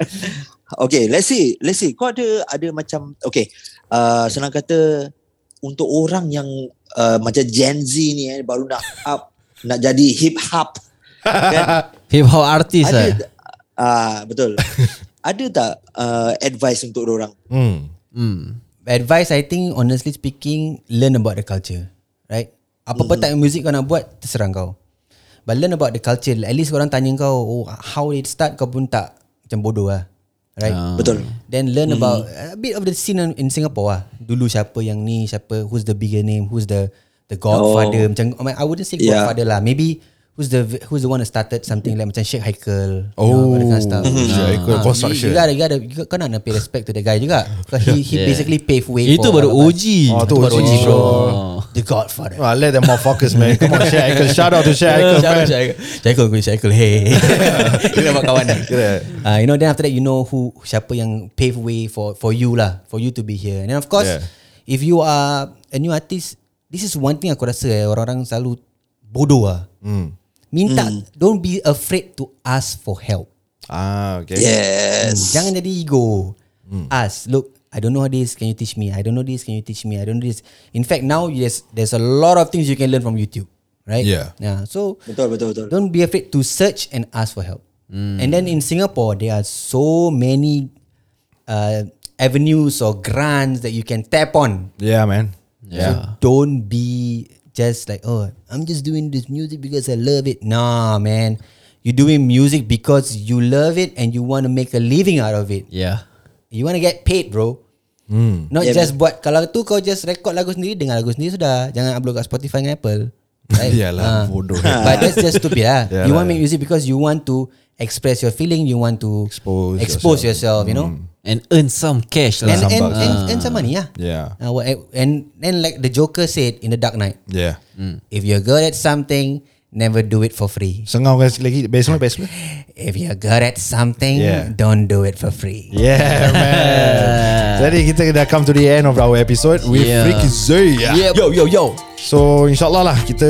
C: Okay, let's see. Let's see. Kau ada ada macam okay, uh, senang kata untuk orang yang uh, macam Gen Z ni eh, baru nak up, nak jadi hip hop. Kan?
B: *laughs* Hip hop artist
C: ada
B: lah.
C: tak- ah betul. ada tak uh, advice untuk orang?
D: Hmm.
B: Hmm.
F: Advice I think honestly speaking Learn about the culture Right
D: Hmm.
F: Apa-apa mm-hmm. type of music kau nak buat Terserah kau But learn about the culture At least orang tanya kau oh, How it start Kau pun tak Macam bodoh lah Right
D: Ah.
F: uh.
C: Betul. Hmm.
F: Then learn mm-hmm. about A bit of the scene in- in Singapore lah Dulu siapa yang ni Siapa Who's the bigger name Who's the The godfather oh. Macam I, mean, I wouldn't say
C: Yeah.
F: godfather lah Maybe Who's the who's the one that started something like macam Sheikh Haikal
D: Oh,
F: you know, all that kind of stuff.
D: *laughs* Sheikh Haikal
F: Ah,
D: construction.
F: You, you gotta, you gotta, you, kau nak nak pay respect to the guy juga. Because he, he yeah. basically paved way
B: Itu
F: for
B: baru
F: all of us.
B: OG.
D: Oh, tu
F: Itu baru
D: OG.
F: OG bro.
B: Hmm. Oh.
F: The Godfather.
D: Well, let them motherfuckers man. Come on, Shaq Ackles. Shout out to Shaq Ackles, man.
F: Syaikhul Syaikhul Syaikhul Hey Kita nampak kawan dah uh, You know then after that You know who Siapa yang pave way For for you lah For you to be here And then of course
D: Yeah.
F: yeah. If you are A new artist This is one thing aku rasa eh, Orang-orang selalu Bodoh lah mm. Minta
C: Hmm.
F: mm. Don't be afraid to ask for help
D: Ah, okay.
C: Yes.
F: Jangan jadi ego. Hmm. Ask, look, I don't know this. Can you teach me? I don't know this. Can you teach me? I don't know this. In fact, now yes, there's a lot of things you can learn from YouTube, right?
D: Yeah.
F: Yeah. So
C: Betul, betul, betul.
F: don't be afraid to search and ask for help. And then in Singapore, there are so many uh, avenues or grants that you can tap on.
D: Yeah, man.
B: Yeah.
F: So don't be just like, oh, I'm just doing this music because I love it. Nah, man. You're doing music because you love it and you want to make a living out of it.
B: Yeah.
F: You want to get paid bro
D: Hmm.
F: mm. Not yeah,
C: Yeah,
F: just buat Kalau tu kau just record lagu sendiri Dengar lagu sendiri sudah Jangan upload kat Spotify dengan Apple right?
D: *laughs* Yalah,
F: Ah.
D: bodoh.
F: But that's just stupid
D: *laughs*
F: lah
D: Yalah.
F: You want to make music Because you want to Express your feeling You want to
D: Expose Hmm.
F: expose yourself, You know
B: And earn some cash
F: and,
B: lah.
F: and,
D: bucks.
F: and, and some money lah
D: Yeah.
F: Ah, what- And and like the Joker said In the Dark Knight
D: Yeah.
F: If you're good at something Never do it for free
D: Sengau kan sekali lagi. Best mula, best mula.
F: If you're good at something
D: Yeah.
F: Don't do it for free
D: Yeah, man. Jadi kita dah come to the end of our episode with
B: Yeah.
D: Ricky Zay.
F: yeah. Yo yo yo
D: So, insyaAllah lah kita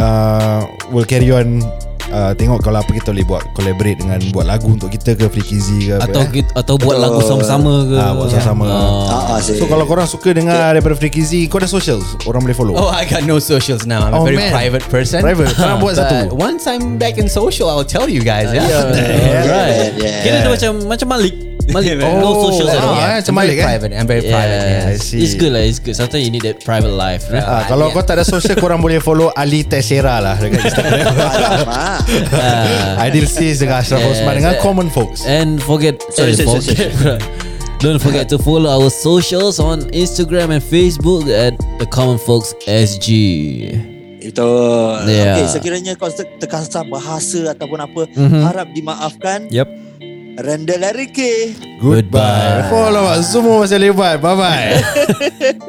D: uh, will carry on uh, Tengok kalau apa kita boleh buat Collaborate dengan Buat lagu untuk kita ke Flikizy ke apa,
B: Atau
D: eh.
B: kita, atau buat lagu sama-sama ke
D: Ah, buat sama-sama.
C: Ah, ah,
D: So kalau korang suka dengar daripada Flikizy Kau ada socials Orang boleh follow
G: Oh, I got no socials now. I'm
D: Oh,
G: a very
D: man.
G: private person. *laughs*
D: Private. Kau nak
G: But
D: buat satu.
G: Once I'm back in social, I'll tell you guys. Yeah. *laughs*
B: Alright
C: Yeah.
B: Kira dia macam Macam Malik Malik
G: Yeah, man.
B: No socials at all
D: ah,
G: Yeah,
D: macam
G: I'm very
D: Malik, eh?
G: private. I'm very private.
B: Yeah,
G: Yeah.
D: I see.
B: it's good lah. It's good. Sometimes you need that private life. Right?
D: Ah, kalau kau tak ada social korang boleh follow Ali Teixeira lah dekat Instagram.
C: *laughs* Alamak.
D: Aidil Sis dengan Ashraf
B: Yes.
D: Osman dengan Common Folks.
B: And forget,
C: Sorry,
B: eh,
C: sorry, sorry,
B: forget *laughs* don't forget to follow our socials on Instagram and Facebook at the Common Folks SG.
C: Itu
B: Yeah.
C: Okay sekiranya kau ter- terkasar bahasa Ataupun apa mm-hmm. Harap dimaafkan
B: Yep.
C: Randall Arike
D: Goodbye. Follow up semua masih lebat. Bye bye.